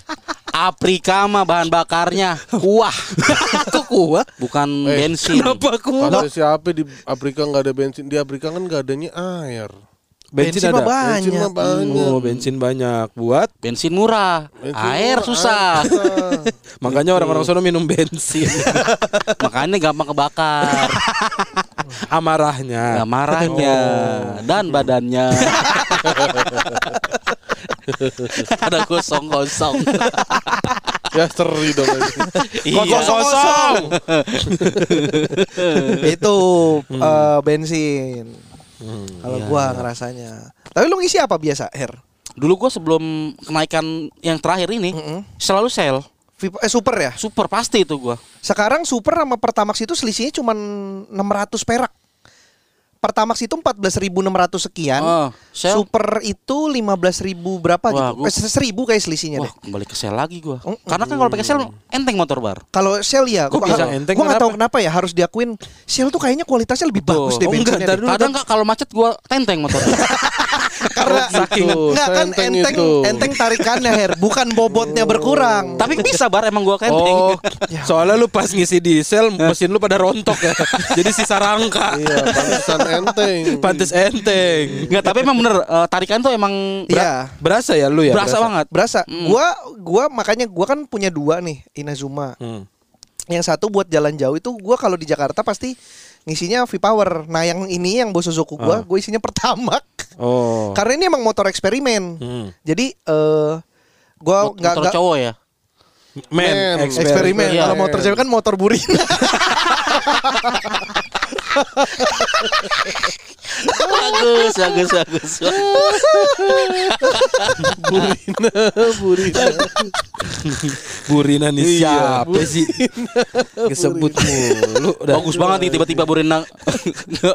Afrika mah bahan bakarnya
Ah,
kuah.
Kok gua?
Bukan
Eh,
bensin.
Kenapa gua?
Kata siapa di Afrika nggak ada bensin? Di Afrika kan nggak adanya air.
Bensin, ada.
mah
Bensin
banyak.
mah banyak.
Oh, bensin banyak buat
Bensin murah,
Bensin
air
murah,
susah.
air susah.
makanya orang-orang sono minum bensin.
Makanya gampang kebakar. Nah,
Ah, Amarahnya.
marahnya
Oh.
dan badannya. Ada gosong-gosong.
ya seri dong.
Iya.
Kosong-kosong. itu
Hmm.
eh, bensin. Kalau
iya,
gua ngerasanya. Tapi lu ngisi apa biasa, Her?
Dulu gua sebelum kenaikan yang terakhir ini
Mm-mm.
selalu sel.
Vivo- Eh, super ya?
Super pasti itu gua.
Sekarang Super sama Pertamax itu selisihnya cuman 600 perak. Pertamax itu 14.600 sekian.
Oh, sel.
Super itu 15.000 berapa
Wah,
gitu.
gua-
Eh, 1.000 kayak selisihnya
Wah,
iya deh.
kembali ke sel lagi gua.
Mm-mm.
Karena kan kalau pakai sel enteng motor bar.
Kalau Shell ya,
Kok
gua
bisa
gua
enteng,
nggak tahu
kenapa?
kenapa ya harus diakuin Shell tuh kayaknya kualitasnya lebih bagus deh
Oh, enggak,
bensinnya.
ntar
deh.
dulu.
Kadang nggak kalau macet gua tenteng motor.
Karena
Saking-
nggak kan
enteng
enteng
itu.
enteng tarikannya Her, bukan bobotnya berkurang.
Tapi bisa bar emang gua
Oh,
tenteng.
soalnya lu pas ngisi diesel
Hmm.
mesin lu pada rontok ya. Jadi sisa rangka.
Iya, pantesan enteng.
Pantes enteng.
Enggak, tapi emang bener eh, tarikan tuh emang berat,
Iya.
Berasa ya lu ya?
berasa banget.
Berasa.
Hmm.
Gua gua makanya gua kan punya dua nih Inazuma.
Hmm.
yang satu buat jalan jauh itu gua kalau di Jakarta pasti ngisinya V Power. Nah yang ini yang Bosozoku
Ah.
gua, gue isinya pertama.
Oh.
Karena ini emang motor eksperimen.
Hmm.
Jadi eh gua
Mot-
nggak
motor
nggak
cowok ya.
Men,
Men,
eksperimen.
eksperimen.
Iya.
Kalau motor cewek kan motor burina.
bagus, bagus, bagus.
Burina, Burina.
Burina nih
Iya,
siapa sih? Kesebut mulu. dah.
bagus banget nih tiba-tiba Burina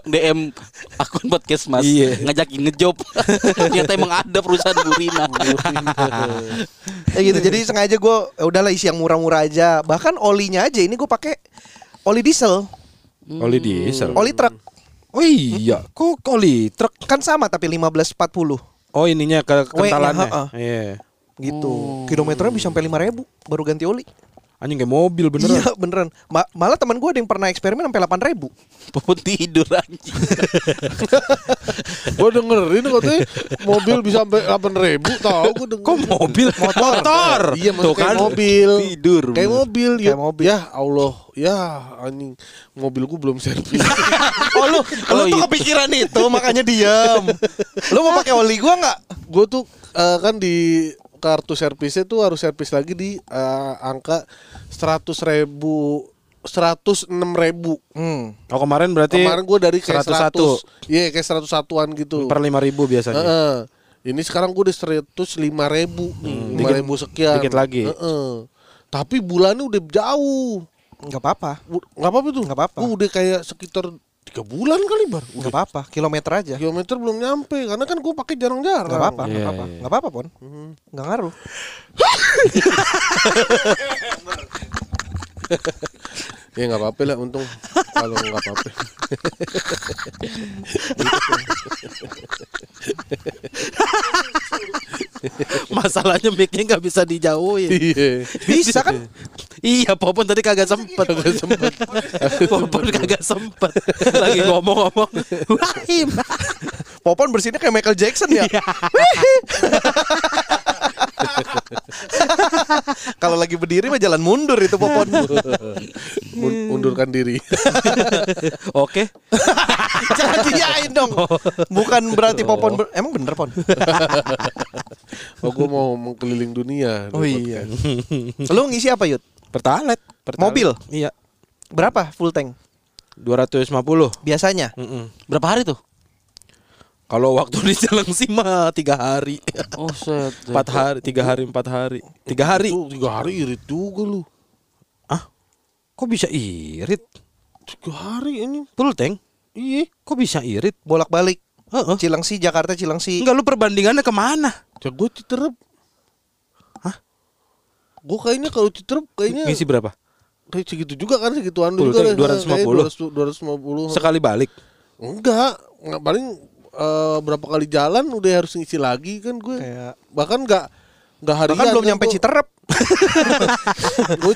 DM akun podcast Mas
Iya.
ngajakin ngejob. Ternyata emang ada perusahaan Burina.
ya gitu. Jadi sengaja gua "Ya udahlah isi yang murah-murah aja. Bahkan olinya aja ini gue pakai oli diesel,
Hmm. Oli diesel.
oli truk.
Oh iya, kok oli truk?
Kan sama tapi 1540
Oh ininya ke
W-nya,
kentalannya.
heeh.
Iya.
Oh.
gitu. Kilometernya bisa sampai 5000 baru ganti oli.
Anjing kayak mobil beneran.
Iya beneran. Ma- malah teman gue ada yang pernah eksperimen sampai delapan ribu.
Puput tidur anjing.
Gue dengerin katanya mobil bisa sampai 8 ribu tau gue denger.
Kok mobil? Motor.
Iya
Tuh
maksudnya
kan.
kayak mobil.
Tidur,
Kayak
bener.
mobil. ya-
Kayak mobil.
Ya Allah. Ya anjing. Mobil gue belum servis.
Oh lu,
Oh,
lu tuh
itu.
kepikiran itu makanya diam. lu mau pakai oli gue nggak?
gue tuh eh, kan di kartu servisnya tuh harus servis lagi di eh, angka 100 ribu 106 ribu
Hmm.
Oh kemarin berarti
kemarin gue dari kayak
101.
100 iya kayak 100 satuan gitu
per lima ribu biasanya.
Heeh. ini sekarang gue di 105 ribu nih, 5 ribu sekian
Hmm, dikit lagi.
Heeh. tapi bulannya udah jauh
Gak apa-apa.
Bu- nggak apa-apa tuh
Nggak apa-apa.
Gua udah kayak sekitar tiga bulan kali bar
Gak apa-apa. Kilometer aja. Gak
kilometer belum nyampe karena kan gue pakai jarang-jarang
apa-apa.
Iya,
Gak apa-apa.
iya.
Gak apa-apa pon. Gak ngaruh.
Ya nggak apa-apa lah untung kalau nggak apa-apa.
Masalahnya mic-nya nggak bisa dijauhin.
Iya.
Bisa kan?
iya, Popon tadi kagak sempet. Kagak sempet. Popon kagak sempet. Lagi ngomong-ngomong. Wahim.
Popon bersinnya kayak Michael Jackson ya. Kalau lagi berdiri mah jalan mundur itu Popon.
Un- Undurkan diri.
Oke.
Jangan diain dong.
Oh.
Bukan berarti Popon ber- emang bener Pon.
Oh gue mau mengkeliling dunia.
Oh iya. Lu ngisi apa Yud?
Pertalet.
Mobil?
Iya.
Berapa full tank?
250.
Biasanya?
Mm-mm.
Berapa hari tuh?
Kalau waktu di Cilengsi mah tiga hari,
Oh, set.
empat hari, tiga hari, empat hari, tiga hari.
Itu gitu. tiga hari irit juga lu.
Ah, kok bisa irit?
Tiga hari ini.
Full tank?
Iya.
Kok bisa irit?
Bolak-balik.
Heeh.
Cilengsi Jakarta Cilengsi.
Enggak lu perbandingannya kemana?
Jago citerep.
Hah?
Gue kayaknya kalau citerep kayaknya
Ngisi berapa?
kayak segitu juga kan segituan
Full
juga.
tank,
deh. Kayak
250.
200, 250.
Sekali balik.
Enggak, nggak paling eh, berapa kali jalan udah harus ngisi lagi kan gue.
Kayak-
Bahkan nggak nggak harian. kan
Bahkan kan belum nyampe Citerep.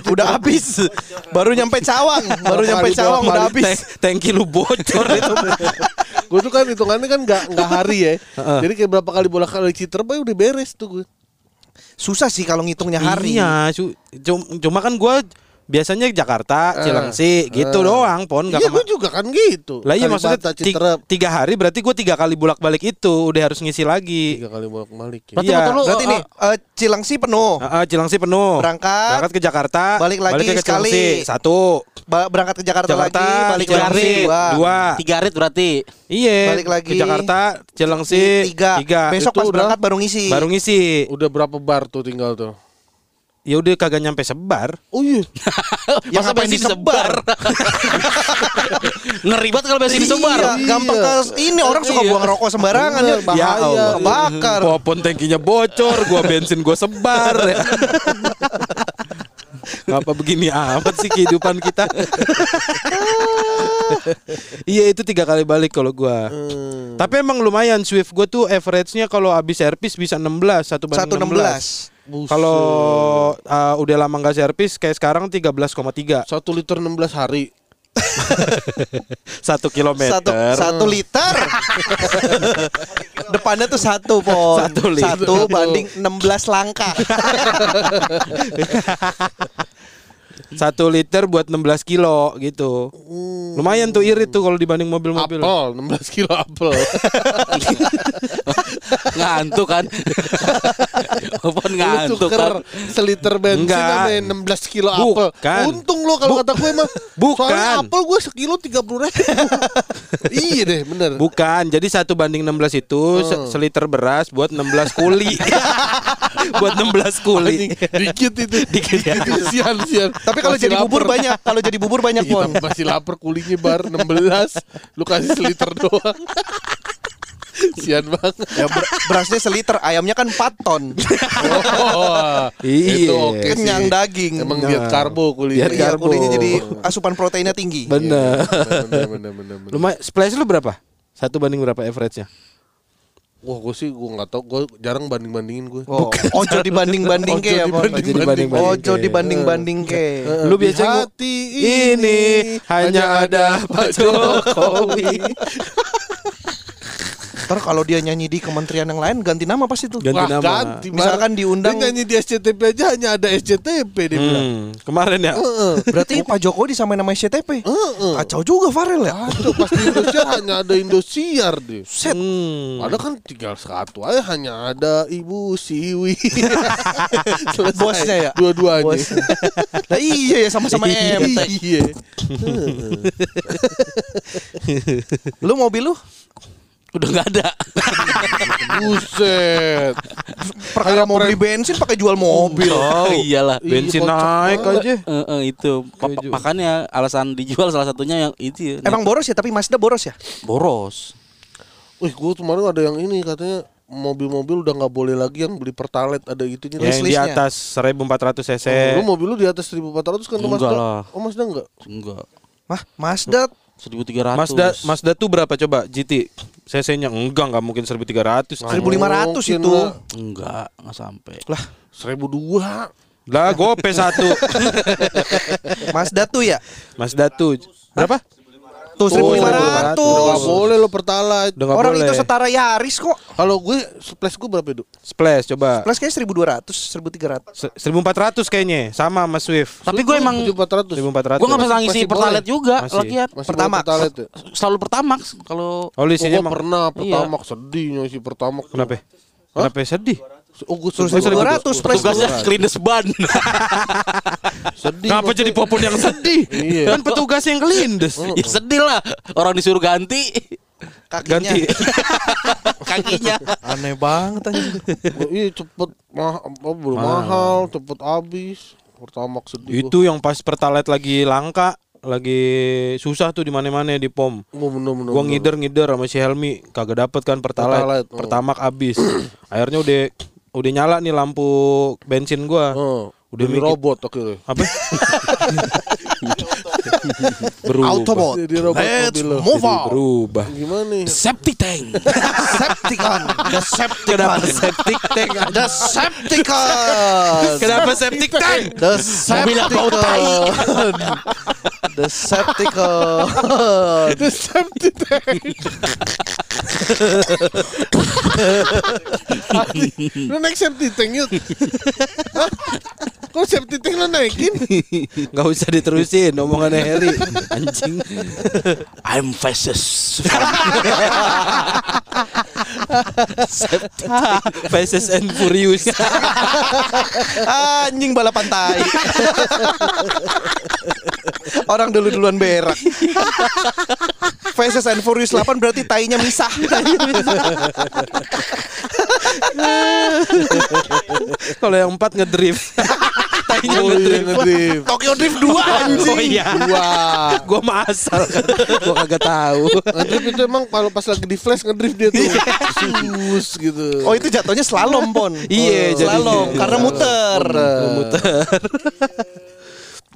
udah habis. Baru nyampe Cawang, baru nyampe Cawang udah habis.
Tank- Tangki lu bocor itu.
Gue tuh kan hitungannya kan nggak nggak hari ya. Jadi kayak berapa kali bolak kali Citerep aja udah beres tuh gue.
Susah sih kalau ngitungnya hari.
Iya, cu- cum- cuma kan gua biasanya Jakarta, Cilengsi, gitu doang, pon nggak
Iya
kema-
gue juga kan gitu.
Lah iya
Kalibata,
maksudnya ti-
Citerep
tiga hari berarti gua tiga kali bolak balik itu udah harus ngisi lagi.
tiga kali bolak balik. Ya.
Berarti
Iya.
motor lu
Berarti
eh,
nih eh, Cilengsi penuh.
Heeh, Cilengsi penuh.
Berangkat.
Berangkat ke Jakarta.
Balik lagi
baliknya ke
sekali.
Cilengsi, Satu.
Ba- berangkat ke Jakarta,
Jakarta,
lagi, balik
tiga
lagi
hari,
dua.
dua.
tiga hari berarti.
Iya.
Balik lagi.
Ke Jakarta,
Ti-
Cilengsi,
tiga. Besok
Itu
pas
udah-
berangkat baru ngisi.
Baru ngisi.
Udah berapa bar tuh tinggal tuh?
Ya udah kagak nyampe sebar.
Oh iya.
Ya,
Masa
ngapain
bensin
disebar?
disebar? Ngeri banget kalau bensin disebar.
Iya, gampang ke ini orang suka buang rokok sembarangan
Ya
ya bahaya
Allah.
kebakar.
Popon tankinya bocor, gua bensin gua sebar. Ya. Ngapa begini amat sih kehidupan kita? iya itu tiga kali balik kalau gua.
Eh,
Tapi emang lumayan Swift gua tuh average-nya kalau habis servis bisa 16 satu banding 16.
116.
Buset.
Kalau uh, udah lama nggak servis kayak sekarang 13,3
satu liter 16 hari.
satu kilometer.
Satu, satu liter. Depannya tuh satu pon.
Satu liter.
Satu banding 16 langkah.
Satu liter buat 16 kilo gitu. Lumayan tuh irit tuh kalau dibanding mobil-mobil.
Apel, 16 kilo apel.
Ngantuk kan. Apaan
Lu
ngantuk kan.
tuker seliter bensin
Enggak.
sama 16 kilo apel.
Bukan.
Untung lo kalau
Bu-
kata gue mah.
Bukan.
Soalnya apel gue Oh, sekilo 30 ribu. iya deh bener.
Bukan, jadi satu banding 16 itu se- seliter beras buat 16 kuli. buat 16
Anjing,
kuli.
dikit itu. dikit itu sian sian.
Tapi kalau
Masih
jadi bubur
lapar.
banyak, kalau jadi bubur banyak
Iya,
pon.
tapi masih lapar kulinya bar 16 Lu kasih seliter doang Sian banget
Ya, ber- berasnya seliter, ayamnya kan 4 ton.
Wah,
Iya.
Itu oke sih.
Kenyang daging.
Emang diet karbo kulinya
Diet
Iya,
karbo.
kulinya jadi asupan proteinnya tinggi.
Ben- Bener.
Iya. Bener bener bener, bener.
Lumayan splash lu berapa? Satu banding berapa average-nya?
Wah gue sih gue nggak tau, gue jarang banding bandingin gue.
Oh, ojo dibanding-banding ke ya, Pon.
Ojo dibanding-banding.
Ojo dibanding-banding ke.
Lu biasanya ngu-
hati
ini hanya ada Pak Jokowi.
Ntar kalau dia nyanyi di kementerian yang lain ganti nama pasti tuh.
Ganti
Wah,
nama.
ganti.
Misalkan diundang
Dia nyanyi di SCTP aja hanya ada SCTP dia bilang.
Hmm, kemarin ya.
Oh,
Heeh.
berarti Pak Jokowi disamain nama SCTP.
Heeh.
Kacau juga Farel ya.
Aduh, pasti Indonesia hanya ada Indosiar deh.
Set.
Hmm.
Ada kan tinggal satu aja hanya ada Ibu Siwi. Selesai.
Bosnya ya?
Dua-duanya.
Bos. Lah iya ya sama-sama MT.
Iya.
Lu mobil lu
Udah nggak ada.
Buset.
perkara mau beli bensin pakai jual mobil.
Iyalah.
Bensin
Iya, kocak
naik
banget.
aja.
Eh, eh, itu Pa- pa- makanya alasan dijual salah satunya yang itu ya.
Emang boros ya, tapi Mazda boros ya?
boros.
Wih, gue kemarin ada yang ini katanya mobil-mobil udah nggak boleh lagi yang beli pertalite ada itunya.
Yang di
listnya.
atas 1400 cc.
Oh, Lu mobil lu di atas 1400 kan lu
Enggak
Mazda?
lah.
Oh Mazda enggak?
Enggak.
Mah, Mazda
1300.
Mazda Mazda tuh berapa coba GT? CC-nya enggak enggak mungkin 1300.
1500
Mungkin
itu.
lah.
Enggak, enggak sampai.
lah
1002.
Lah gope satu.
Mazda tuh ya
Mazda tuh berapa?
tuh
Udah
1500
nggak boleh lo pertalite.
Udah nggak
orang
boleh.
itu setara Yaris kok
Kalau gue splash gue berapa itu?
Splash coba.
plus kayaknya 1200 1300
Se- 1400 kainya sama sama Swift.
Tapi gue emang
1400.
1400.
gue nggak pernah ngisi
Masih
pertalite
boleh.
juga
Masih.
lagian.
Masih
Pertama.
bawa Pertalite ya?
Selalu pertamax kalau
Oh, lu isinya
Oh,
emang
gue pernah
Iya.
pertama sedihnya si pertama.
kenapa? Kenapa ya? sedih?
Oh, gue
terus
sedih.
1200 plus
tugasnya kelindes ban.
Sedih.
Kenapa
maksudnya.
jadi popon yang sedih?
Iya.
Kan petugas yang kelindes.
ya sedih lah orang disuruh ganti
kakinya
Ganti.
kakinya.
aneh banget anjing
Gua- Iya cepet mah apa belum
Mahal.
mahal, cepet habis. Pertama sedih.
Itu yang pas pertalite lagi langka, lagi susah tuh di mana-mana di pom.
gue bener bener.
Gua
bener.
ngider-ngider sama si Helmi kagak dapet kan
Pertalite,
pertalite.
oh.
Pertama habis. Akhirnya udah udah nyala nih lampu bensin gua.
Heeh.
Udah
Udah
mikir-
robot akhirnya.
Apa? berubah.
Autobot
Jadi robot
let's
mobil lo.
move
Jadi
on
berubah.
Gimana ya? nih?
Septic tank.
Decepticon Decepticon
Kenapa septic tank?
Decepticon
Kenapa septic tank?
Decepticon Decepticon
Lu naik safety tank yuk. Hah? Kok safety tank lu naikin?
Gak usah diterusin omongannya Harry Anjing
I'm fascist.
Faces and Furious
Anjing balapan tai. Orang dulu-duluan berak. Faces and Furious 8 berarti tainya misah.
Kalau yang empat ngedrift Tainya ngedrift
ngedrift.
Tokyo Drift 2
Oh
anjing.
iya
Wah.
Gue mah asal Gue kagak tahu
Ngedrift itu emang kalau pas lagi di flash ngedrift dia tuh. Sus gitu.
Oh itu jatuhnya slalom pon.
Iya, jadi-
slalom karena muter.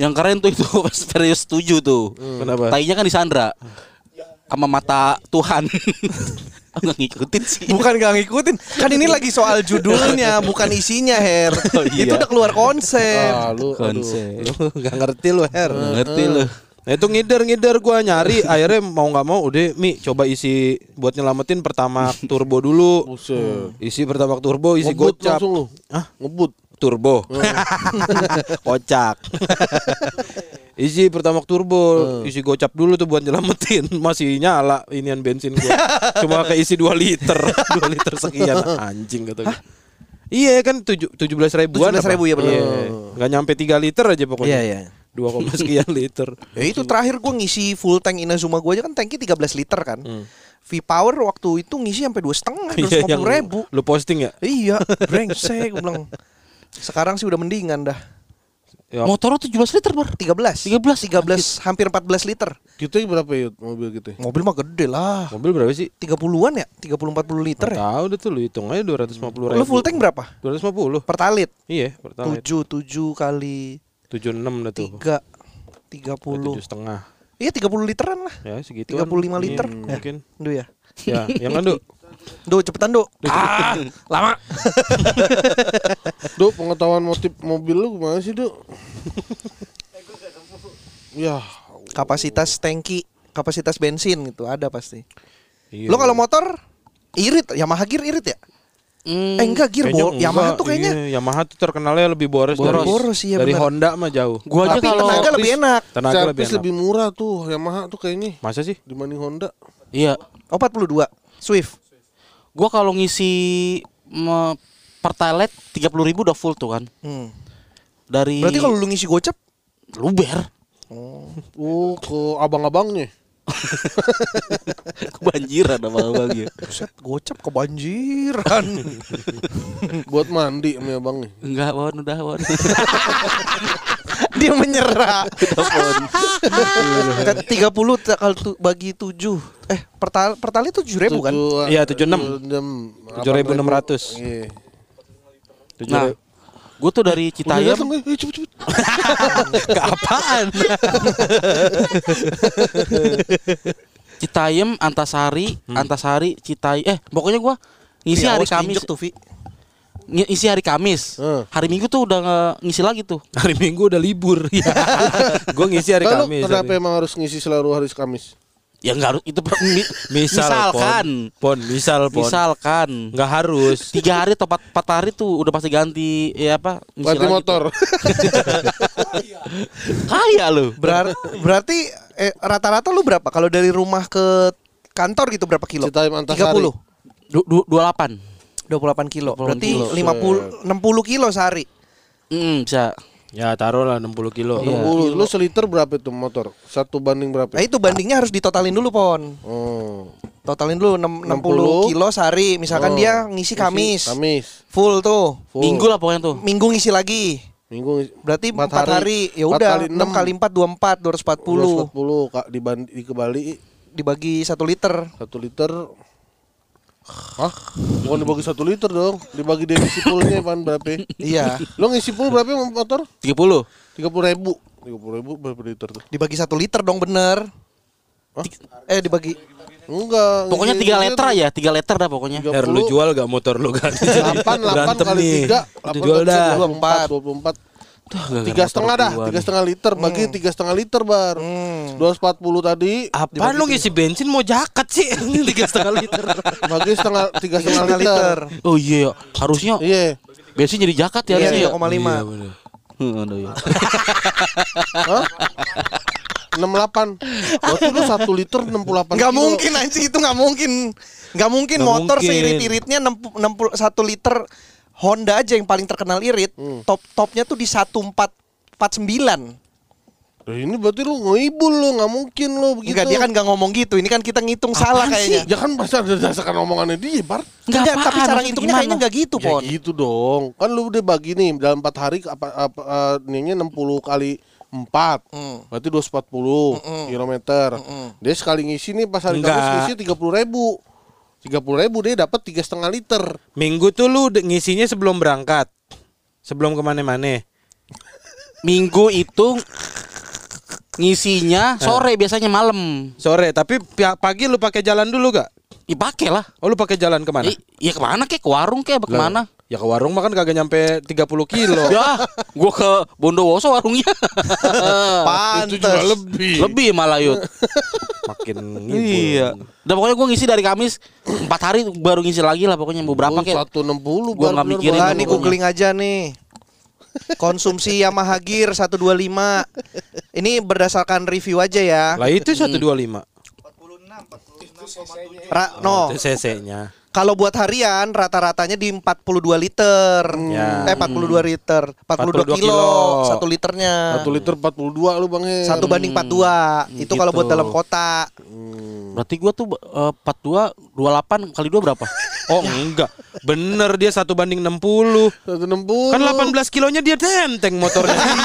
Yang keren tuh itu Furious 7 tuh.
Kenapa?
Tainya kan disandra sama mata Tuhan. Aku nggak ngikutin sih.
Bukan gak ngikutin. Kan ini lagi soal judulnya, bukan isinya, Her.
Oh, iya.
Itu udah keluar iya. konsep.
Oh,
Ah, lu aduh.
Konsep.
Lu Gak ngerti lu Her
Nggak Ngerti lu.
Nah itu ngider-ngider gue nyari Akhirnya mau gak mau Udah Mi coba isi Buat nyelamatin pertama turbo dulu
Buset.
Isi pertama turbo Isi
Ngebut
gocap
langsung lu.
Hah?
Ngebut.
turbo kocak isi pertama turbo
Hmm.
isi gocap dulu tuh buat nyelamatin masih nyala inian bensin gua cuma keisi 2 liter 2 liter sekian anjing kata gua iya kan tujuh tujuh belas ribuan
17.000
apa?
ya, bener.
Iya. nggak nyampe 3 liter aja pokoknya
Iya, iya.
dua koma sekian liter
Ya itu terakhir gua ngisi full tank Inazuma gua aja kan tanknya 13 liter kan. V Power waktu itu ngisi sampai dua setengah, dua
Hmm. Iya, yang
ribu.
lu posting ya,
Iya, brengsek gua bilang. Sekarang sih udah mendingan dah.
ya
Motor lu 17 liter, Bar.
13.
13.
13 hampir 14 liter.
Kita berapa yuk mobil kita?
Mobil mah gede lah.
mobil berapa sih
30-an ya? 30 40 liter Ah. ya?
tahu deh tuh lu hitung aja dua ratus lima puluh
Lu full tank berapa?
250
Pertalit.
iya pertama
7 7 kali
tujuh enam dah tuh
3
tujuh
30.
setengah
Iya 30 literan lah.
ya segitu
35 liter.
mungkin
Duh ya.
ya yang kan Du?
Do cepetan do.
Ah, lama.
Duh, pengetahuan motif mobil lu gimana sih, Duh? ya,
Kapasitas tangki, kapasitas bensin gitu ada pasti.
Iya.
Lo kalau motor irit, Yamaha gear irit ya?
Mm. Hmm.
Eh enggak gear, bo- Yamaha tuh kayaknya
iya, Yamaha tuh terkenalnya lebih boros, dari,
Boros.
Boros, iya,
dari
benar.
Honda mah jauh.
Gua aja
tapi
kalau
tenaga lebih enak.
Tenaga lebih
servis
enak.
lebih murah tuh Yamaha tuh kayaknya
Masa sih?
dibanding Honda.
Iya.
Oh 42 Swift.
Gua kalau ngisi me, pertalite 30.000 udah full tuh kan.
Hmm.
Dari
Berarti kalau lu ngisi gocap
luber
Oh, ke abang-abangnya.
kebanjiran apa apa gitu.
Buset, gocap kebanjiran.
Buat mandi sama abangnya.
Enggak, Won, udah, Won.
Dia menyerah. Kan 30 ta- kalau tu- bagi 7. Eh, pertal pertalite 7 ribu kan?
Tujuh-
Iya, 76. 7600.
Iya.
Tujuh
Nah,
ribu.
gua tuh dari Citayam
Datang, eh, eh, cepet, cepet.
Keapaan?
Citayam, Antasari, Antasari, Citay eh pokoknya gua ngisi hari Kamis,
Ya, oh, tuh, Vi.
ngi- ngisi hari Kamis.
Hmm.
Hari Minggu tuh udah nge- ngisi lagi tuh.
Hari Minggu udah libur.
Iya. Gua ngisi hari
Lalu
Kamis.
kenapa
hari-
emang harus ngisi selalu hari Kamis?
Ya enggak harus itu per- mi-
Misal,
misalkan
Pon, pon misal pon.
misalkan
Nggak harus.
tiga hari atau empat, empat hari tuh udah pasti ganti ya apa ngisi
Ganti
lagi
motor.
tuh. kaya lu
Berar- berarti eh, rata-rata lu berapa? Kalau dari rumah ke kantor gitu berapa kilo?
Citayam Antasari.
30.
dua delapan
28 kilo.
28
Berarti
kilo.
50 60 kilo sehari.
mm, bisa
Ya taruhlah 60 kilo.
Iya.
Lu, lu seliter berapa itu motor? Satu banding berapa?
Nah, itu bandingnya harus ditotalin dulu, Pon.
Oh.
Totalin dulu nem- 60 kilo sehari. Misalkan dia ngisi Kamis.
Kamis.
Full tuh.
Full.
minggu lah pokoknya tuh
Minggu ngisi lagi.
Minggu ngisi-
Berarti
Empat
4 hari.
hari.
Ya
Empat
udah,
kali
6
enam.
kali 4 24 240
240 kak diband dikebali
dibagi 1 liter.
satu liter Hah? Bukan dibagi satu liter dong Dibagi dia ngisi fullnya pan berapa
Iya,
Lo ngisi full berapa sama motor?
tiga puluh
30 ribu 30 ribu berapa liter tuh?
dibagi 1 liter dong bener.
Hah?
Eh dibagi
Enggak
pokoknya tiga letter ya tiga letter dah pokoknya
Her lu jual gak motor lu kan?
8, 8
Berantem
kali
nih.
3
Jual dah.
24 24 tiga setengah dah tiga setengah liter bagi
Hmm.
tiga setengah liter bar
hmm,
dua empat puluh tadi
Apaan lu ngisi bensin mau jaket sih? Tiga setengah liter.
bagi setengah tiga setengah
setengah
liter
liter.
oh iya harusnya
iya
bensin jadi jaket ya
Iya,
harusnya ya
3,5.
Hmm, aduh, iya.
enam delapan waktu itu satu liter enam puluh delapan
Enggak mungkin anjing itu enggak mungkin. Enggak mungkin
Nggak
motor
mungkin.
seirit-iritnya 60 61 liter Honda aja yang paling terkenal irit. Top-topnya tuh di 1449.
Lah, ini berarti lu ngibul lu nggak mungkin lu begitu
Enggak dia kan enggak ngomong gitu. Ini kan kita ngitung salah kayaknya.
ya kan pasti ada dasarkan omongannya dia bar
Enggak, tapi
Nggak,
cara
apaan, maksudnya
ngitungnya
gimana?
kayaknya enggak gitu,
ya
Pon.
gitu dong kan lu udah bagi nih dalam empat hari ke apa apa eh, enam puluh kali empat
Mm.
berarti dua empat puluh kilometer dia sekali ngisi nih pas hari kamis
Enggak.
ngisi tiga puluh ribu tiga puluh ribu dia dapat tiga setengah liter
Minggu tuh lu de- ngisinya sebelum berangkat. Sebelum kemana-mana.
minggu itu ngisinya sore biasanya malam
Sore, tapi pi- pagi lu pakai jalan dulu gak?
dipakai lah
Oh lu pakai jalan kemana?
I- ya kemana kek ke warung kek apa kemana
Ya ke warung makan kagak nyampe 30 kilo.
ya gua ke Bondowoso warungnya
Pantes. itu juga lebih
lebih malah yuk
Makin
Iya. Dan pokoknya gue ngisi dari Kamis empat hari baru ngisi lagi lah pokoknya beberapa kayak
satu enam puluh
Gua nggak mikirin
Lah
Kirim
nih
dulu.
googling aja nih. Konsumsi Yamaha Gear 125. Ini berdasarkan review aja ya.
Lah itu 125.
46 46,7
Ra- no,
Hmm.
Itu
Oh.
CC-nya.
kalau buat harian rata-ratanya di 42 liter.
Ya.
Eh 42 liter,
42
42, kilo,
kilo.
satu liternya.
satu liter Hmm, empat puluh dua lu bang Hen.
Satu banding 42. Itu
gitu.
kalau buat dalam kota.
berarti gue tuh eh, 42 28 kali 2 berapa?
Oh enggak. Bener dia satu banding 60.
160.
Kan 18
Oh.
kilonya dia denteng motornya.
Iya.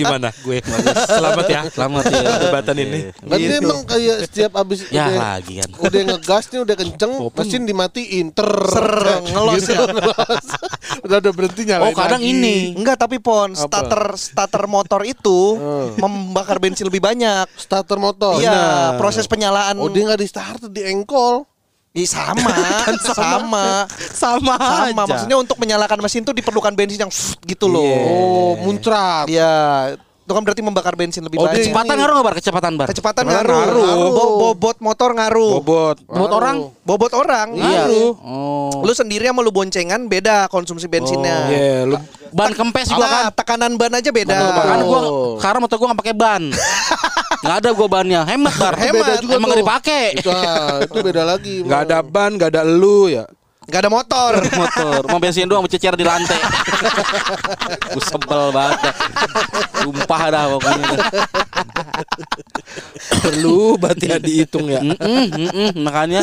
Gimana gue? Selamat ya.
Selamat ya.
Perdebatan ini.
Kan dia emang kayak setiap abis
Ya
udah,
lagi kan.
udah ngegasnya udah kenceng, mesin dimatiin, ter
ngelos ya.
ngelos. kan. udah udah berhenti
Iya,
nyalain.
Oh kadang
lagi.
ini.
Enggak tapi pon starter starter motor itu
Hmm.
membakar bensin lebih banyak.
starter motor.
iya,
Oh, Benar.
proses penyalaan
Oh dia Kan nggak di starter di engkol.
Ih, sama, sama,
Sama,
sama.
aja.
Maksudnya untuk menyalakan mesin tuh diperlukan bensin yang gitu loh.
Oh muncrat.
Iya, itu kan berarti membakar bensin lebih
Oh, dia-
banyak.
Kecepatan ngaruh nggak bar? Kecepatan bar.
Kecepatan
Kecepatan
ngaruh.
ngaruh.
Bo- bobot motor
Oh.
ngaruh.
Bobot.
Buat
Ngaruh.
orang.
Bobot orang.
Iya.
Ngaruh.
Oh.
Lu sendiri sama lu boncengan beda konsumsi bensinnya.
Iya,
Ya, lu
Ban kempes juga kan.
Ah, tekanan ban aja beda.
Bahkan gua
Oh.
karena motor gua nggak pakai ban. Nggak ada gua bannya. Hemat bar.
Hemat.
Hemat. Emang nggak dipakai.
Itu, ah, itu beda lagi.
nggak
Bang.
ada ban, nggak ada lu ya.
Gak ada motor.
motor mau bensin doang mencecer di lantai gue sebel banget dah. sumpah dah pokoknya
Lu berarti ya dihitung ya.
Mm-mm, mm-mm, makanya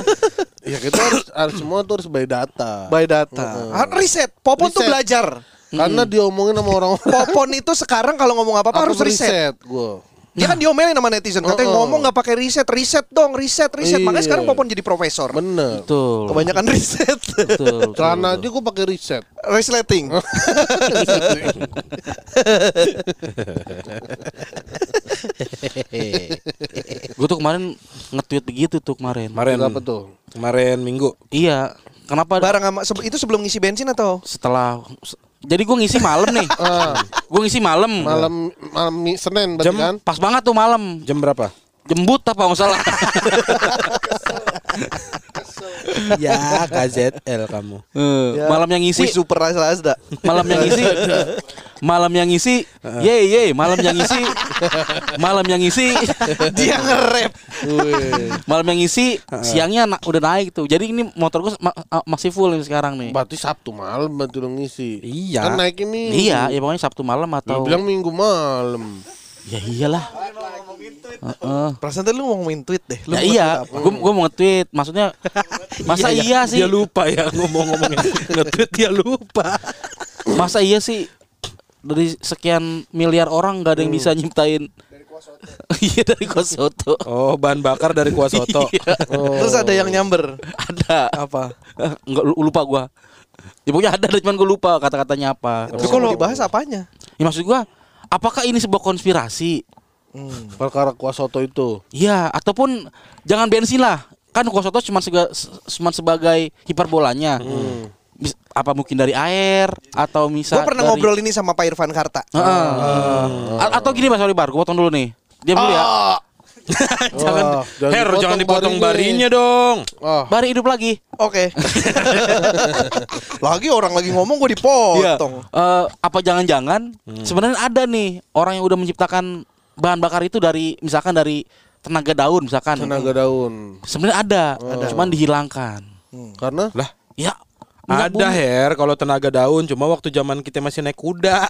Ya kita harus, harus semua tuh harus by data.
By data. Ah, Riset. Popon tuh
Riset.
belajar.
Karena diomongin sama orang-orang.
Popon itu sekarang kalau ngomong apa-apa harus riset.
gue.
Dia kan diomelin sama netizen. Katanya
Oh, oh.
ngomong nggak pakai riset, riset dong, riset, riset. Makanya
Iya.
sekarang Popon jadi profesor.
Bener.
betul
Kebanyakan riset.
betul, betul.
Celana aja gue pakai riset.
Resleting.
gue tuh kemarin nge-tweet begitu tuh kemarin
Kemarin
Apa tuh?
Kemarin minggu.
iya kenapa
Barang sama sebe- itu sebelum ngisi bensin atau?
setelah se- jadi gue ngisi malam nih
Ah,
gue ngisi malam
malam malam Mi- Senin berarti
Jam-
kan?
pas banget tuh malam
Jam berapa?
jembut apa nggak salah
ya KZL kamu.
Eh,
Ya.
malam yang ngisi
Wih, super rasa asda.
malam yang ngisi malam yang ngisi ye ye malam yang ngisi malam yang ngisi
Dia nge-rap.
malam yang ngisi siangnya na- udah naik tuh jadi ini motor gue masih full nih sekarang nih
Berarti Sabtu malam berarti lo ngisi.
Iya.
Kan naik ini.
iya ya pokoknya sabtu malam
Lu
atau
bilang minggu malam.
ya iyalah Heeh.
Perasaan tadi lu ngomongin tweet deh. Lu
ya
ngomongin
iya
apa?
gue gue mau nge-tweet maksudnya masa iya, sih
Dia lupa ya ngomong-ngomongnya. Nge-tweet dia lupa.
masa iya sih dari sekian miliar orang nggak ada yang
Hmm.
bisa nyiptain iya dari kosoto
Oh, bahan bakar dari kuah soto.
Terus ada yang nyamber.
ada
Apa?
Eh, Enggak lu- lupa gua. Ya pokoknya ada dah, cuman gua lupa kata-katanya apa.
Tapi kalau bahas apanya?
Ya maksud gua, apakah ini sebuah konspirasi?
Perkara kuah soto itu.
Ya, ataupun jangan bensin lah. Kan Kosoto cuma sega- se- cuma sebagai hiperbolanya. Mis- Apa mungkin dari air atau misal
Hmm. Gua pernah
dari-
ngobrol Ah. ini sama Pak Irfan Karta.
Heeh. A- atau gini Mas sorry Bar, gua potong dulu nih. Diam dulu ya.
Ah.
jangan
Wah, jangan
Her,
dipotong
jangan dipotong
barinya.
barinya dong.
Ah,
Bari hidup lagi.
Oke. lagi orang lagi ngomong gue dipotong.
Eh, apa jangan-jangan sebenarnya ada nih orang yang udah menciptakan bahan bakar itu dari misalkan dari tenaga daun misalkan.
tenaga daun.
Sebenarnya ada, cuman dihilangkan.
Karena
Lah,
Ya, minyak
ada
bumi.
Her kalau tenaga daun cuma waktu zaman kita masih naik kuda.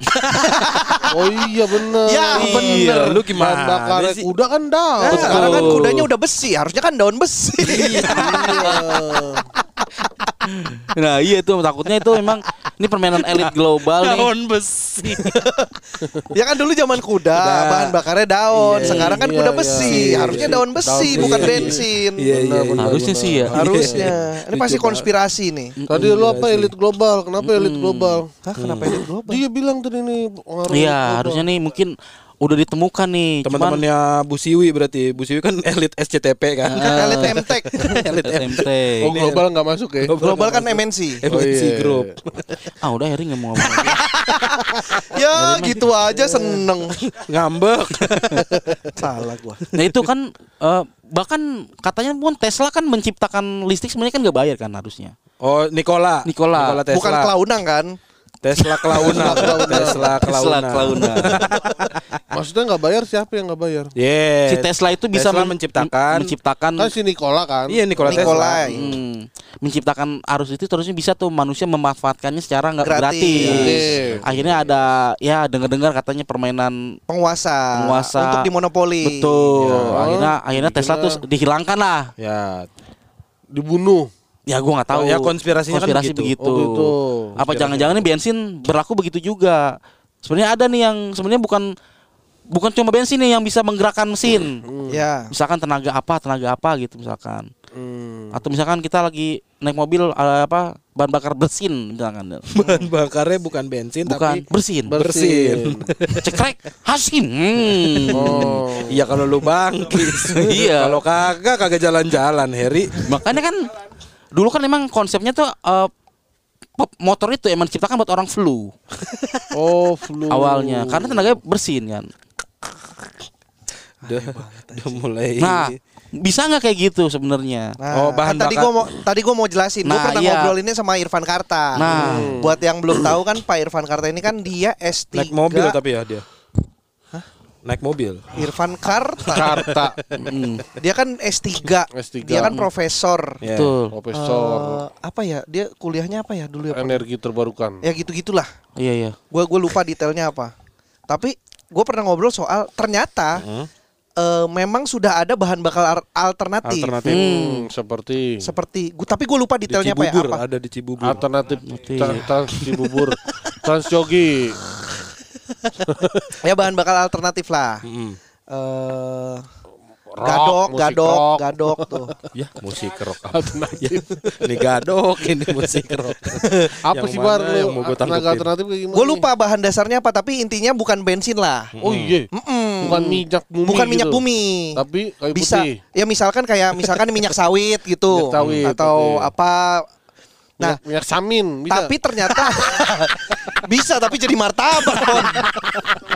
oh iya bener.
Ya,
Iya,
bener.
lu
Bahan
gimana
bakar
sih?
kuda kan
Nah,
daun.
Betul.
sekarang kan kudanya udah besi, harusnya kan daun besi.
Nah, iya itu takutnya itu memang ini permainan elit global nih.
besi.
ya kan dulu zaman kuda, bahan bakarnya daun. Sekarang kan
iya,
kuda
iya,
besi,
iya,
harusnya
iya.
daun besi
Daun
bukan
besi.
bensin.
Iya, iya.
Benar, benar,
Harusnya
benar.
sih ya.
Harusnya. Ini pasti konspirasi nih.
Tadi lu apa elit global? Kenapa elit global?
Hah, kenapa ini global?
Dia bilang tadi nih pengaruh elit global.
Iya, harusnya nih mungkin udah ditemukan nih. cuman
Teman-temannya Bu Siwi berarti. Bu Siwi kan elit SCTP kan.
Elit Emtek.
elit MT.
Oh global nggak masuk ya?
Global kan MNC.
MNC Group.
Ah, udah Heri nggak mau ngomong. lagi.
Ya gitu aja seneng.
Ngambek.
Salah gua.
Nah, itu kan eh, bahkan katanya pun Tesla kan menciptakan listrik sebenarnya kan nggak bayar kan harusnya.
Oh, Nikola.
Nikola.
Tesla.
Bukan Klaunang kan?
Tesla Klauna. Tesla Klauna.
Klauna.
Maksudnya nggak bayar siapa yang nggak bayar?
Yeah.
si Tesla itu
Eh,
bisa
Tesla
men-
menciptakan.
menciptakan
Kan si Nikola kan?
Iya, Nikola, Tesla.
Nikolai.
Hmm, menciptakan arus itu terusnya bisa tuh manusia memanfaatkannya secara nggak
Gratis.
gratis.
Gratis.
Akhirnya ada ya dengar-dengar katanya permainan
Penguasa.
Penguasa.
Untuk dimonopoli.
betul.
Ya.
Akhirnya akhirnya Tesla tuh dihilangkan lah.
Ya.
dibunuh.
Ya gua nggak tahu.
Oh, ya konspirasinya kan
Konspirasi
begitu.
begitu.
Oh, gitu.
Apa jangan-jangan ini bensin berlaku begitu juga? Sebenarnya ada nih yang sebenarnya bukan bukan cuma bensin nih yang bisa menggerakkan mesin.
Ya.
Misalkan tenaga apa, tenaga apa gitu misalkan.
Hmm.
Atau misalkan kita lagi naik mobil ada apa bahan bakar bersin misalkan.
Bahan bakarnya bukan bensin
Bukan
tapi
bersin.
bersin.
Cekrek hasin. Hmm.
Oh.
Iya kalau lu bangkis.
Iya.
Kalau kagak kagak jalan-jalan, Heri.
Makanya kan dulu kan emang konsepnya tuh eh, pop- motor itu emang diciptakan buat orang flu
Oh, flu.
awalnya karena tenaganya bersin kan.
Udah, udah mulai.
Nah, bisa nggak kayak gitu sebenarnya?
Oh,
Nah,
bahan
kan tadi
bakar.
gua mau tadi gua mau jelasin. Gua
Nah,
pernah
iya.
ngobrol ini sama Irfan Karta.
Nah.
Hmm. buat yang belum tahu kan Pak Irfan Karta ini kan dia S3
naik mobil tapi ya dia. Naik mobil.
Irfan Karta.
Karta
Mm,
dia kan S3.
S3.
Dia kan profesor.
Iya.
Betul.
Profesor
Eh, apa ya? Dia kuliahnya apa ya dulu ya? Pak?
energi terbarukan.
Ya gitu-gitulah.
Iya, iya.
Gua gua lupa detailnya apa. Tapi gua pernah ngobrol soal ternyata eh, memang sudah ada bahan bakal ar- alternatif.
Alternatif.
Hmm, seperti
Seperti gua tapi gua lupa
Di
detailnya apa ya
Cibubur,
apa.
ada di Cibubur.
alternatif
Alternatif.
tra- trans Cibubur, trans Yogi.
Ya bahan bakal alternatif lah.
Mm-mm.
eh
Rock,
gadok,
musik
gadok,
rock.
gadok tuh.
Ya, musik rock.
Alternatif.
Ini gadok ini musik rock.
Apa
Yang
sih bar
mana
lu?
yang mau gua
Tenaga
tangkepin?
alternatif kayak gimana?
Gue
nih?
lupa bahan dasarnya apa, tapi intinya bukan bensin lah.
Oh iya.
Mm-mm.
Bukan minyak bumi.
Bukan minyak
gitu.
bumi.
Tapi kayu
Bisa.
putih.
Ya misalkan kayak misalkan minyak sawit gitu
Minyak sawit,
atau
oke.
apa. Nah,
Minyak, minyak samin bisa.
tapi ternyata bisa tapi jadi martabak. Bon.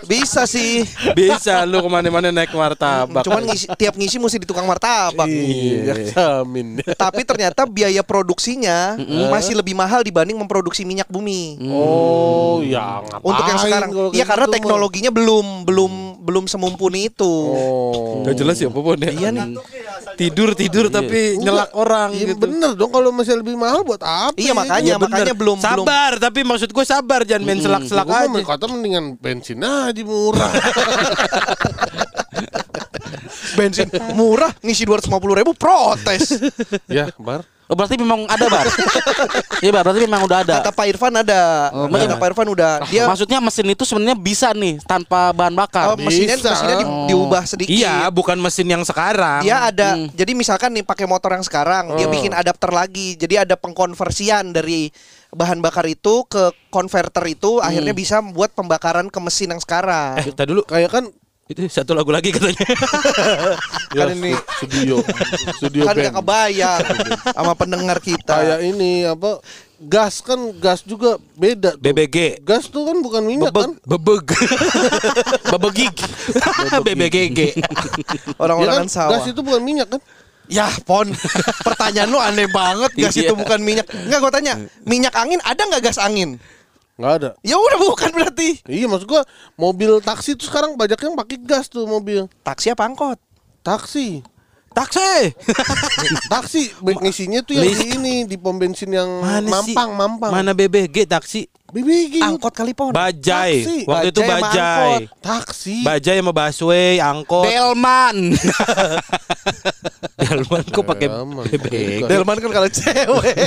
Bisa sih.
Bisa lu kemana-mana naik martabak.
Cuman ngisi- tiap ngisi mesti di tukang martabak.
Iya, minyak samin.
Tapi ternyata biaya produksinya masih lebih mahal dibanding memproduksi minyak bumi.
Oh, ya ngapain
Untuk yang sekarang,
kalau
iya
kayak
karena
gitu, Bang?
teknologinya belum belum belum semumpuni itu.
Oh.
Gak jelas ya Popon ya.
Iya nih.
Tidur tidur tapi nyelak orang
Iya,
gitu.
bener dong kalau masih lebih mahal buat apa?
Iya makanya
Iya, bener.
makanya belum belum.
sabar tapi maksud gue sabar jangan main selak-selak
Gua
aja.
mau kata mendingan bensin aja murah.
bensin murah ngisi 250 ribu protes.
ya, Bar.
Oh, berarti memang ada, Bar. Iya, Bar, berarti memang udah ada.
Kata Pak Irfan ada.
Oh,
Kata Pak Irfan udah Nah,
Ah,
dia
Maksudnya mesin itu sebenarnya bisa nih tanpa bahan
eh,
bakar.
mesinnya
bisa.
mesinnya di- diubah sedikit.
Iya, bukan mesin yang sekarang.
Dia Iya, ada. Jadi misalkan nih pakai motor yang sekarang, dia bikin adapter lagi. Jadi ada pengkonversian dari bahan bakar itu ke konverter itu akhirnya bisa buat pembakaran ke mesin yang sekarang.
Eh, tadi dulu
Kayak kan
itu satu lagu lagi katanya.
ya,
Kan ini-
stu- studio studio
kan
band.
gak kebayang sama pendengar
Kayak
kita.
ini apa gas kan gas juga beda tuh.
BBG.
Gas tuh kan bukan minyak kan?
Bebeg, bebeg. Bebegig. BBGG.
Ya
Orang-orang
kan?
sawah.
Gas itu bukan minyak kan?
Yah Ya, pon, pertanyaan lu aneh banget. Gas
Iya.
itu bukan minyak. Enggak gua tanya, minyak angin ada nggak gas angin?
Enggak ada.
Ya udah bukan berarti.
Iya maksud gua mobil taksi tuh sekarang banyak yang pakai gas tuh mobil
Taksi apa angkot?
taksi.
Taksi.
Taksi baik ngisinya tuh yang di ini di pom bensin yang
Mana sih?
mampang mampang.
Mana BBG taksi?
BBG.
Angkot kali pon.
Bajai.
Taksi.
Waktu itu
Bajai sama
bajai.
angkot.
Taksi.
Bajai sama busway, angkot.
Delman.
Delman kok pakai
Delman.
BBG.
Delman kan kalau cewek.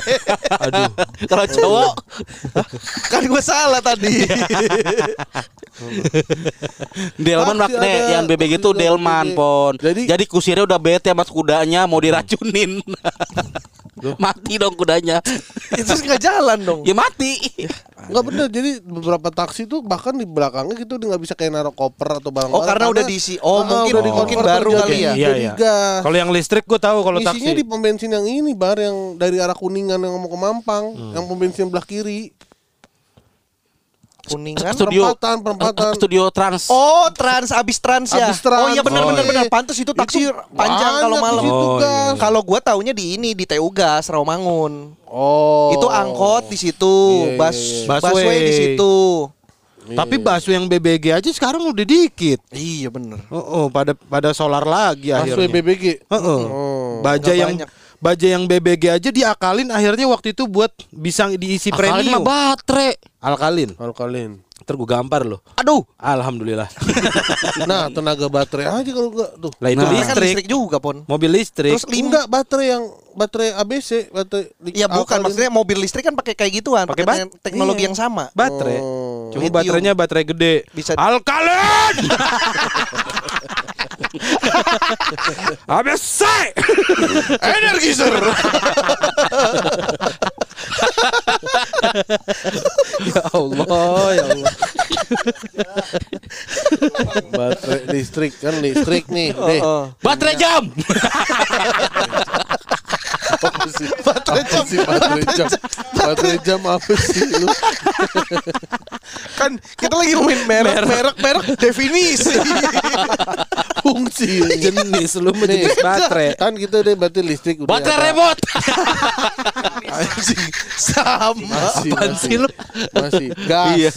Aduh.
kalau cowok kan gue salah tadi.
Delman
Taksi
makne
ada.
yang BBG itu
Taksi
Delman
BBG.
pon.
Jadi-
Jadi, kusirnya udah bete sama kudanya mau diracunin. mati dong kudanya.
Itu nggak jalan dong.
Ya mati.
Enggak bener. Jadi beberapa taksi tuh bahkan di belakangnya gitu udah nggak bisa kayak naruh koper atau barang. Ah,
Oh, karena udah diisi. Oh, mungkin- mungkin baru kali ya.
Iya, iya.
Eh.
Kalau yang listrik gue tahu kalau
Isinya di
taksi.
pom bensin yang ini bar yang dari arah Kuningan yang mau ke Mampang,
Hmm.
yang pom bensin belah kiri.
Kuningan.
Studio
perempatan, perempatan.
Studio
kan
Trans.
Oh, trans abis trans ya.
Abis trans.
Oh iya benar
Oh,
benar
iya.
benar pantas itu taksi
Itu
panjang kalau
banyak
malam.
di
Oh,
situ,
iya,
Gas.
Kalau gua taunya di ini di TU Gas Rawamangun.
Oh.
Itu angkot di situ,
iya,
bus
iya.
busway
Busway.
di situ.
Tapi busway yang BBG aja sekarang udah dikit.
Iya bener.
Oh, oh, pada pada solar lagi
Busway
akhirnya.
BBG.
Heeh. Baja
nggak
Oh.
yang
banyak.
baja yang BBG aja diakalin akhirnya waktu itu buat bisa diisi
Akalin mah
premium.
baterai.
Alkalin.
Alkalin.
Ntar gue gampar loh.
Aduh,
Alhamdulillah.
Nah, tenaga baterai aja kalau enggak tuh.
Lah itu
Nah, kan
listrik.
listrik juga pon.
Mobil listrik.
Terus lim-
Enggak baterai yang baterai ABC, baterai li-
Ya bukan
alkalin.
maksudnya mobil listrik kan pakai kayak gituan,
Pakai bat-
pakai te- teknologi
iya.
yang sama.
baterai.
Oh.
Cuma
Lithium.
baterainya baterai gede.
Bisa-
Alkalin. ABC.
Energizer.
ya Allah, ya Allah.
baterai listrik kan listrik nih.
Oh, Eh,
Nih.
baterai jam.
Apa sih? Baterai jam. Sih, baterai jam. Baterai jam apa sih lu?
Kan kita lagi ngomongin merek, merek, merek definisi.
Fungsi
Jenis lu mah jenis
Nih.
baterai.
Iya. Kan kita deh baterai listrik udah
Baterai
ada.
remote.
Anjing. Sama.
Masih,
Apaan
masih.
sih lu?
Masih gas.
Iya.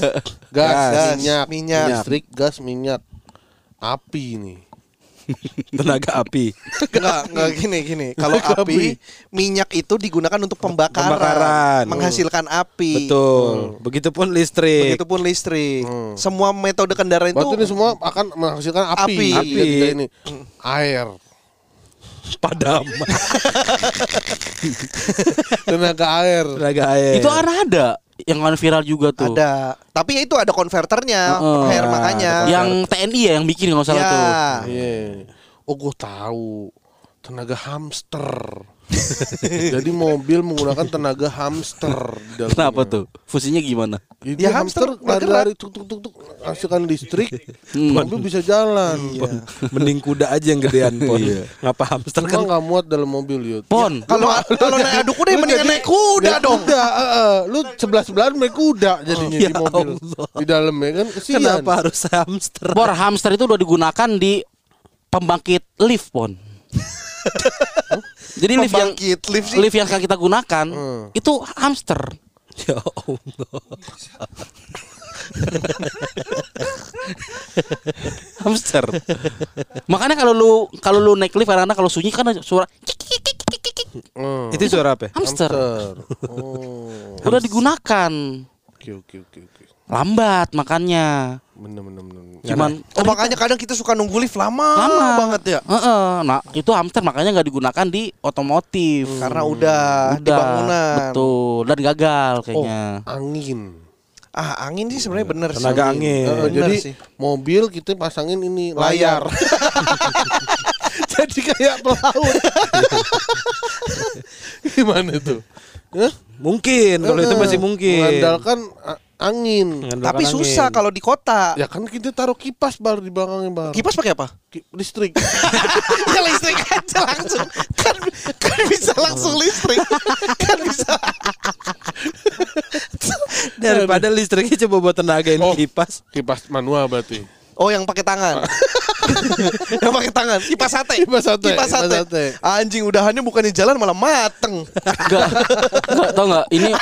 Gas,
Gas,
minyak,
minyak.
listrik, gas, minyak. Api nih.
Tenaga api.
Enggak, enggak gini gini. Kalau api, minyak itu digunakan untuk pembakaran,
Pembakaran.
menghasilkan
Iya.
api.
Betul. Begitupun listrik.
Begitupun listrik. Semua metode kendaraan itu
Batu ini semua akan menghasilkan api.
Api.
Lihat
Api.
kita ini. Air,
Padam.
tenaga air.
Tenaga air.
Itu kan ada yang kan viral juga tuh.
ada. Tapi ya itu ada konverternya,
Heeh.
air makanya.
Yang TNI ya yang bikin nggak salah
Ya.
tuh.
Iya. Oh, gue tahu. Tenaga hamster. Jadi mobil menggunakan tenaga hamster. di dalamnya.
Kenapa tuh? Fusinya gimana?
Jadi
Ya, hamster
hamster lari-lari tuk tuk tuk tuk hasilkan listrik, mobil bisa jalan. ya.
Iya. Mending kuda aja yang gedean pon. Ngapa hamster
Cuma
kan
Iya. nggak muat dalam mobil yuk.
Pon.
Kalau kalau naik adu kuda ya mendingan naik kuda dong.
Kuda, eh, lu sebelah sebelahan naik kuda jadinya di mobil di dalam ya kan. Kesian.
Kenapa harus hamster?
Bor hamster itu udah digunakan di pembangkit lift pon. Jadi lift yang
Pembangkit lift sih. Hmm.
lift yang sekarang kita gunakan itu hamster.
Ya Allah.
Hamster. Makanya kalau lu kalau lu naik lift kadang-kadang kalau sunyi kan ada suara kik, kik, kik, kik, kik, kik.
Hmm.
Itu suara apa? ya?
hamster.
Hamster. Oh.
Udah digunakan.
Oke oke oke oke.
Lambat makannya.
Bener bener bener. kan
Cuman
Oh, makanya kadang kita suka nunggu lift lama,
lama
banget ya.
Heeh. Nah, itu hamster makanya nggak digunakan di otomotif.
Hmm. Karena udah, di
Hmm. Udah,
bangunan.
Betul. Dan gagal kayaknya.
Oh,
Oh, angin.
Ah, angin sih sebenarnya bener
Tenaga
sih.
angin.
Eh,
Bener
jadi
sih.
mobil kita pasangin ini
Layar.
layar. jadi kayak pelaut. Gimana tuh? Hah? Eh,
Mungkin kalau itu masih mungkin.
Mengandalkan a- angin.
Mengandalkan
Tapi
angin.
susah kalau di kota.
Ya kan kita taruh kipas baru di belakangnya bar.
Kipas pakai apa?
Ki- listrik.
ya listrik aja langsung. Kan kan bisa langsung listrik. Kan bisa.
daripada listriknya coba buat tenagain
Oh.
kipas.
kipas manual berarti.
Oh, yang pakai tangan. yang pakai tangan, kipas sate.
Kipas sate,
Kipas sate.
kipas sate.
Anjing udahannya bukannya jalan malah mateng.
Enggak. Enggak tau enggak ini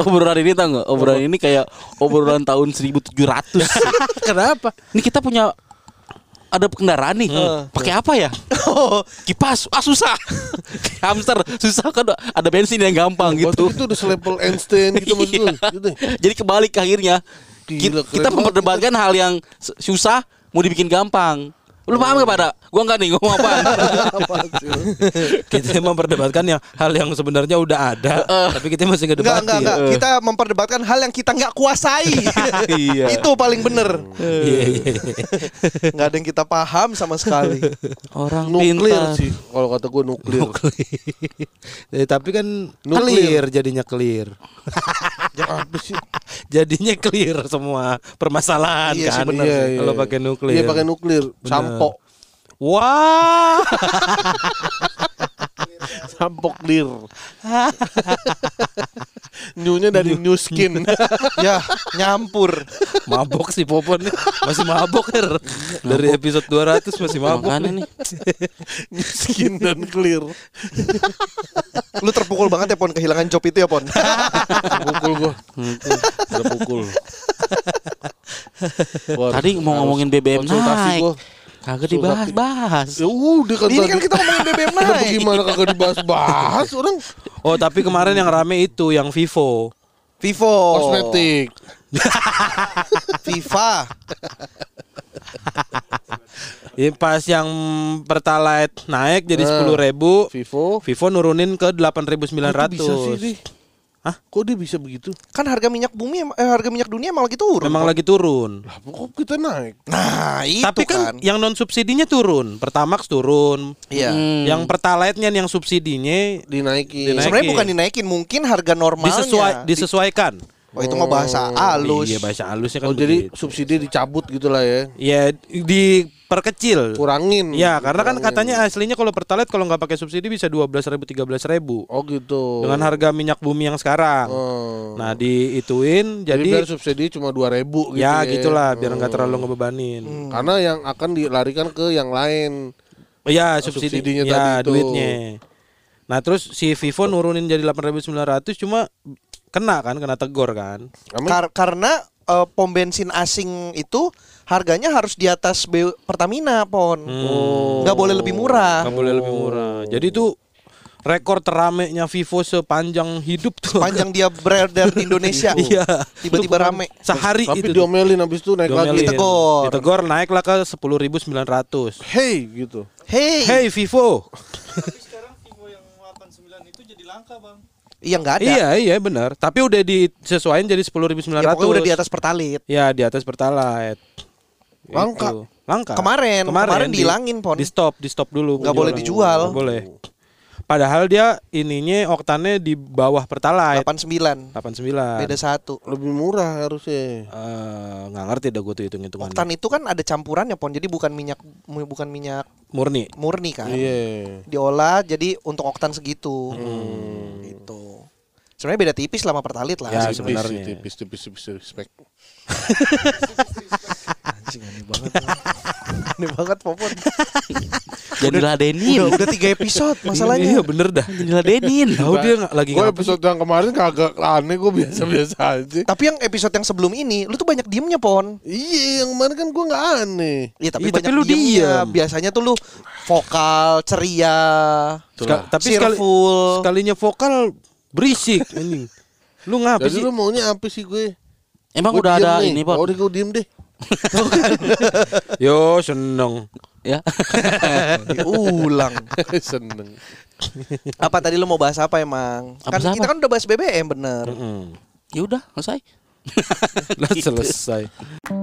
obrolan ini tau enggak? Obrolan ini kayak obrolan tahun 1700.
Kan.
Kenapa?
Ini kita punya ada kendaraan nih. Pakai apa ya?
Oh.
Kipas. Ah susah. Kayak Hamster susah kan ada bensin yang gampang
Waktu
gitu.
itu udah selepel Einstein gitu maksudnya. Gitu.
Jadi kebalik akhirnya.
Gila,
Ki- kita
keren
memperdebatkan hal yang su- susah mau dibikin gampang. Lu paham gak pada? Gua enggak nih ngomong apa.
Kita memperdebatkan yang hal yang sebenarnya udah ada, tapi kita masih
Enggak,
ngedebatin. Eh.
enggak, enggak. Kita memperdebatkan hal yang kita nggak kuasai.
Iya.
Itu paling bener.
Iya, iya, iya.
Nggak ada yang kita paham sama sekali.
Orang
Nuklir
pintar.
sih kalau kata gue nuklir.
Eh, tapi kan
Nuklir.
clear jadinya clear.
Ya, apa sih?
Jadinya clear semua permasalahan
Iya sih,
kan.
bener
Iya, iya,
Kalau
iya.
pakai nuklir.
Iya pakai nuklir. Sampok.
Wah.
Sampok clear. Newnya dari new skin.
ya, nyampur.
mabok sih Popon nih. Masih mabok Her. Dari episode 200 masih mabok.
Makanya nih.
new skin dan clear.
Lu terpukul banget ya Pon kehilangan job itu ya Pon.
Pukul gua. Udah pukul. Wah,
Tadi mau
harus
ngomongin BBM
konsultasi
naik.
gua.
Kagak dibahas,
Konsultasi.
bahas.
Ya udah kan
Ini
tadi.
kan kita ngomongin BBM
Kenapa
naik.
gimana kagak dibahas-bahas orang
Oh, tapi kemarin yang rame itu yang Vivo.
Vivo.
Kosmetik.
Viva.
Ini Ya, pas yang Pertalite naik jadi sepuluh ribu,
Vivo.
Vivo nurunin ke delapan ribu sembilan
Kok bisa sih
ratus.
dia?
Hah?
Kok dia bisa begitu?
Kan harga minyak bumi em- eh, harga minyak dunia emang lagi turun.
Memang lagi turun.
Lah, kok kita naik?
Nah, itu
Tapi kan, yang non subsidinya turun, Pertamax turun.
Ya.
Iya.
Hmm.
Yang Pertalite-nya nih, yang subsidinya
Dinaikin.
Dinaikin.
Sebenarnya bukan dinaikin, mungkin harga normalnya.
disesuai disesuaikan.
Oh, itu mau bahasa halus.
Iya bahasa halusnya kan.
Oh, jadi
begitu.
subsidi dicabut gitu lah ya.
ya diperkecil.
Kurangin.
Ya karena kan katanya
Kurangin.
aslinya kalau Pertalite kalau nggak pakai subsidi bisa dua belas ribu tiga belas ribu
Oh gitu.
dengan harga minyak bumi yang sekarang.
Oh.
Nah diituin
jadi, biar
jadi,
subsidi cuma 2000 gitu.
ya gitulah biar nggak
Hmm.
terlalu ngebebanin.
Karena yang akan dilarikan ke yang lain.
Iya
Oh,
subsidi
subsidinya
ya,
tadi itu.
duitnya. Nah terus si Vivo nurunin jadi 8.900 cuma kena kan kena tegor kan.
Emang
Kar- karena eh, pom bensin asing itu harganya harus di atas B- Pertamina pon.
Oh.
Nggak boleh lebih murah.
Hmm. Nggak boleh lebih murah. Jadi itu rekor teramenya Vivo sepanjang hidup tuh.
Panjang dia beredar di Indonesia.
Iya.
Tiba-tiba rame.
Sehari
tapi
itu. tuh.
diomelin habis itu naik
Diomelin.
lagi.
Ditegor.
Ditegor naiklah ke 10.900.
Hey gitu.
Hei.
Hey Vivo.
Tapi sekarang Vivo yang 89 itu jadi langka bang.
Iya nggak ada.
Iya iya benar. Tapi udah disesuaikan jadi 10.900.
Ya, pokoknya udah di atas Pertalite.
Ya di atas Pertalite.
Langka.
Itu. Langka.
Kemarin, kemarin
di-
dihilangin, Pon.
Di stop, di stop dulu.
Nggak boleh
penjualan.
dijual.
Nggak boleh. Padahal dia ininya oktannya di bawah Pertalite.
89.
89.
Beda satu.
Lebih murah harusnya.
Eh, nggak ngerti dah gue tuh hitung hitungan
Oktan itu kan ada campurannya pon, jadi bukan minyak mu- bukan minyak
murni.
murni kan.
Iya.
Diolah jadi untuk oktan segitu. Gitu. Sebenarnya beda tipis lah sama Pertalite lah.
Hmm. Ya,
Tipis,
sebenarnya.
tipis tipis tipis respect.
Aneh banget Popon.
Jadi
Udah,
ladenin.
udah tiga episode masalahnya.
Iya bener dah.
Jadi ladenin.
Tahu dia nggak lagi
Gue
ngapain?
episode yang kemarin kagak aneh gue biasa-biasa aja.
Tapi yang episode yang sebelum ini, lu tuh banyak diemnya pon.
Iya, yang kemarin kan gue nggak aneh.
Iya tapi
Iya, tapi
banyak
lu diem.
diemnya. Biasanya tuh lu vokal, ceria,
Seka- tapi sekali,
cheerful.
sekalinya vokal berisik anjing. Lu ngapain
Jadi
sih?
lu maunya apa sih gue?
Emang
Gua
udah
diem
ada
nih.
ini, Pon.
Oh, udah gue diem deh.
Yo seneng.
Ya.
Ulang.
Seneng.
apa tadi lu mau bahas apa emang?
Apa
kan kita
apa?
kan udah bahas BBM bener.
Mm.
Ya udah, selesai.
Gitu. Lah selesai.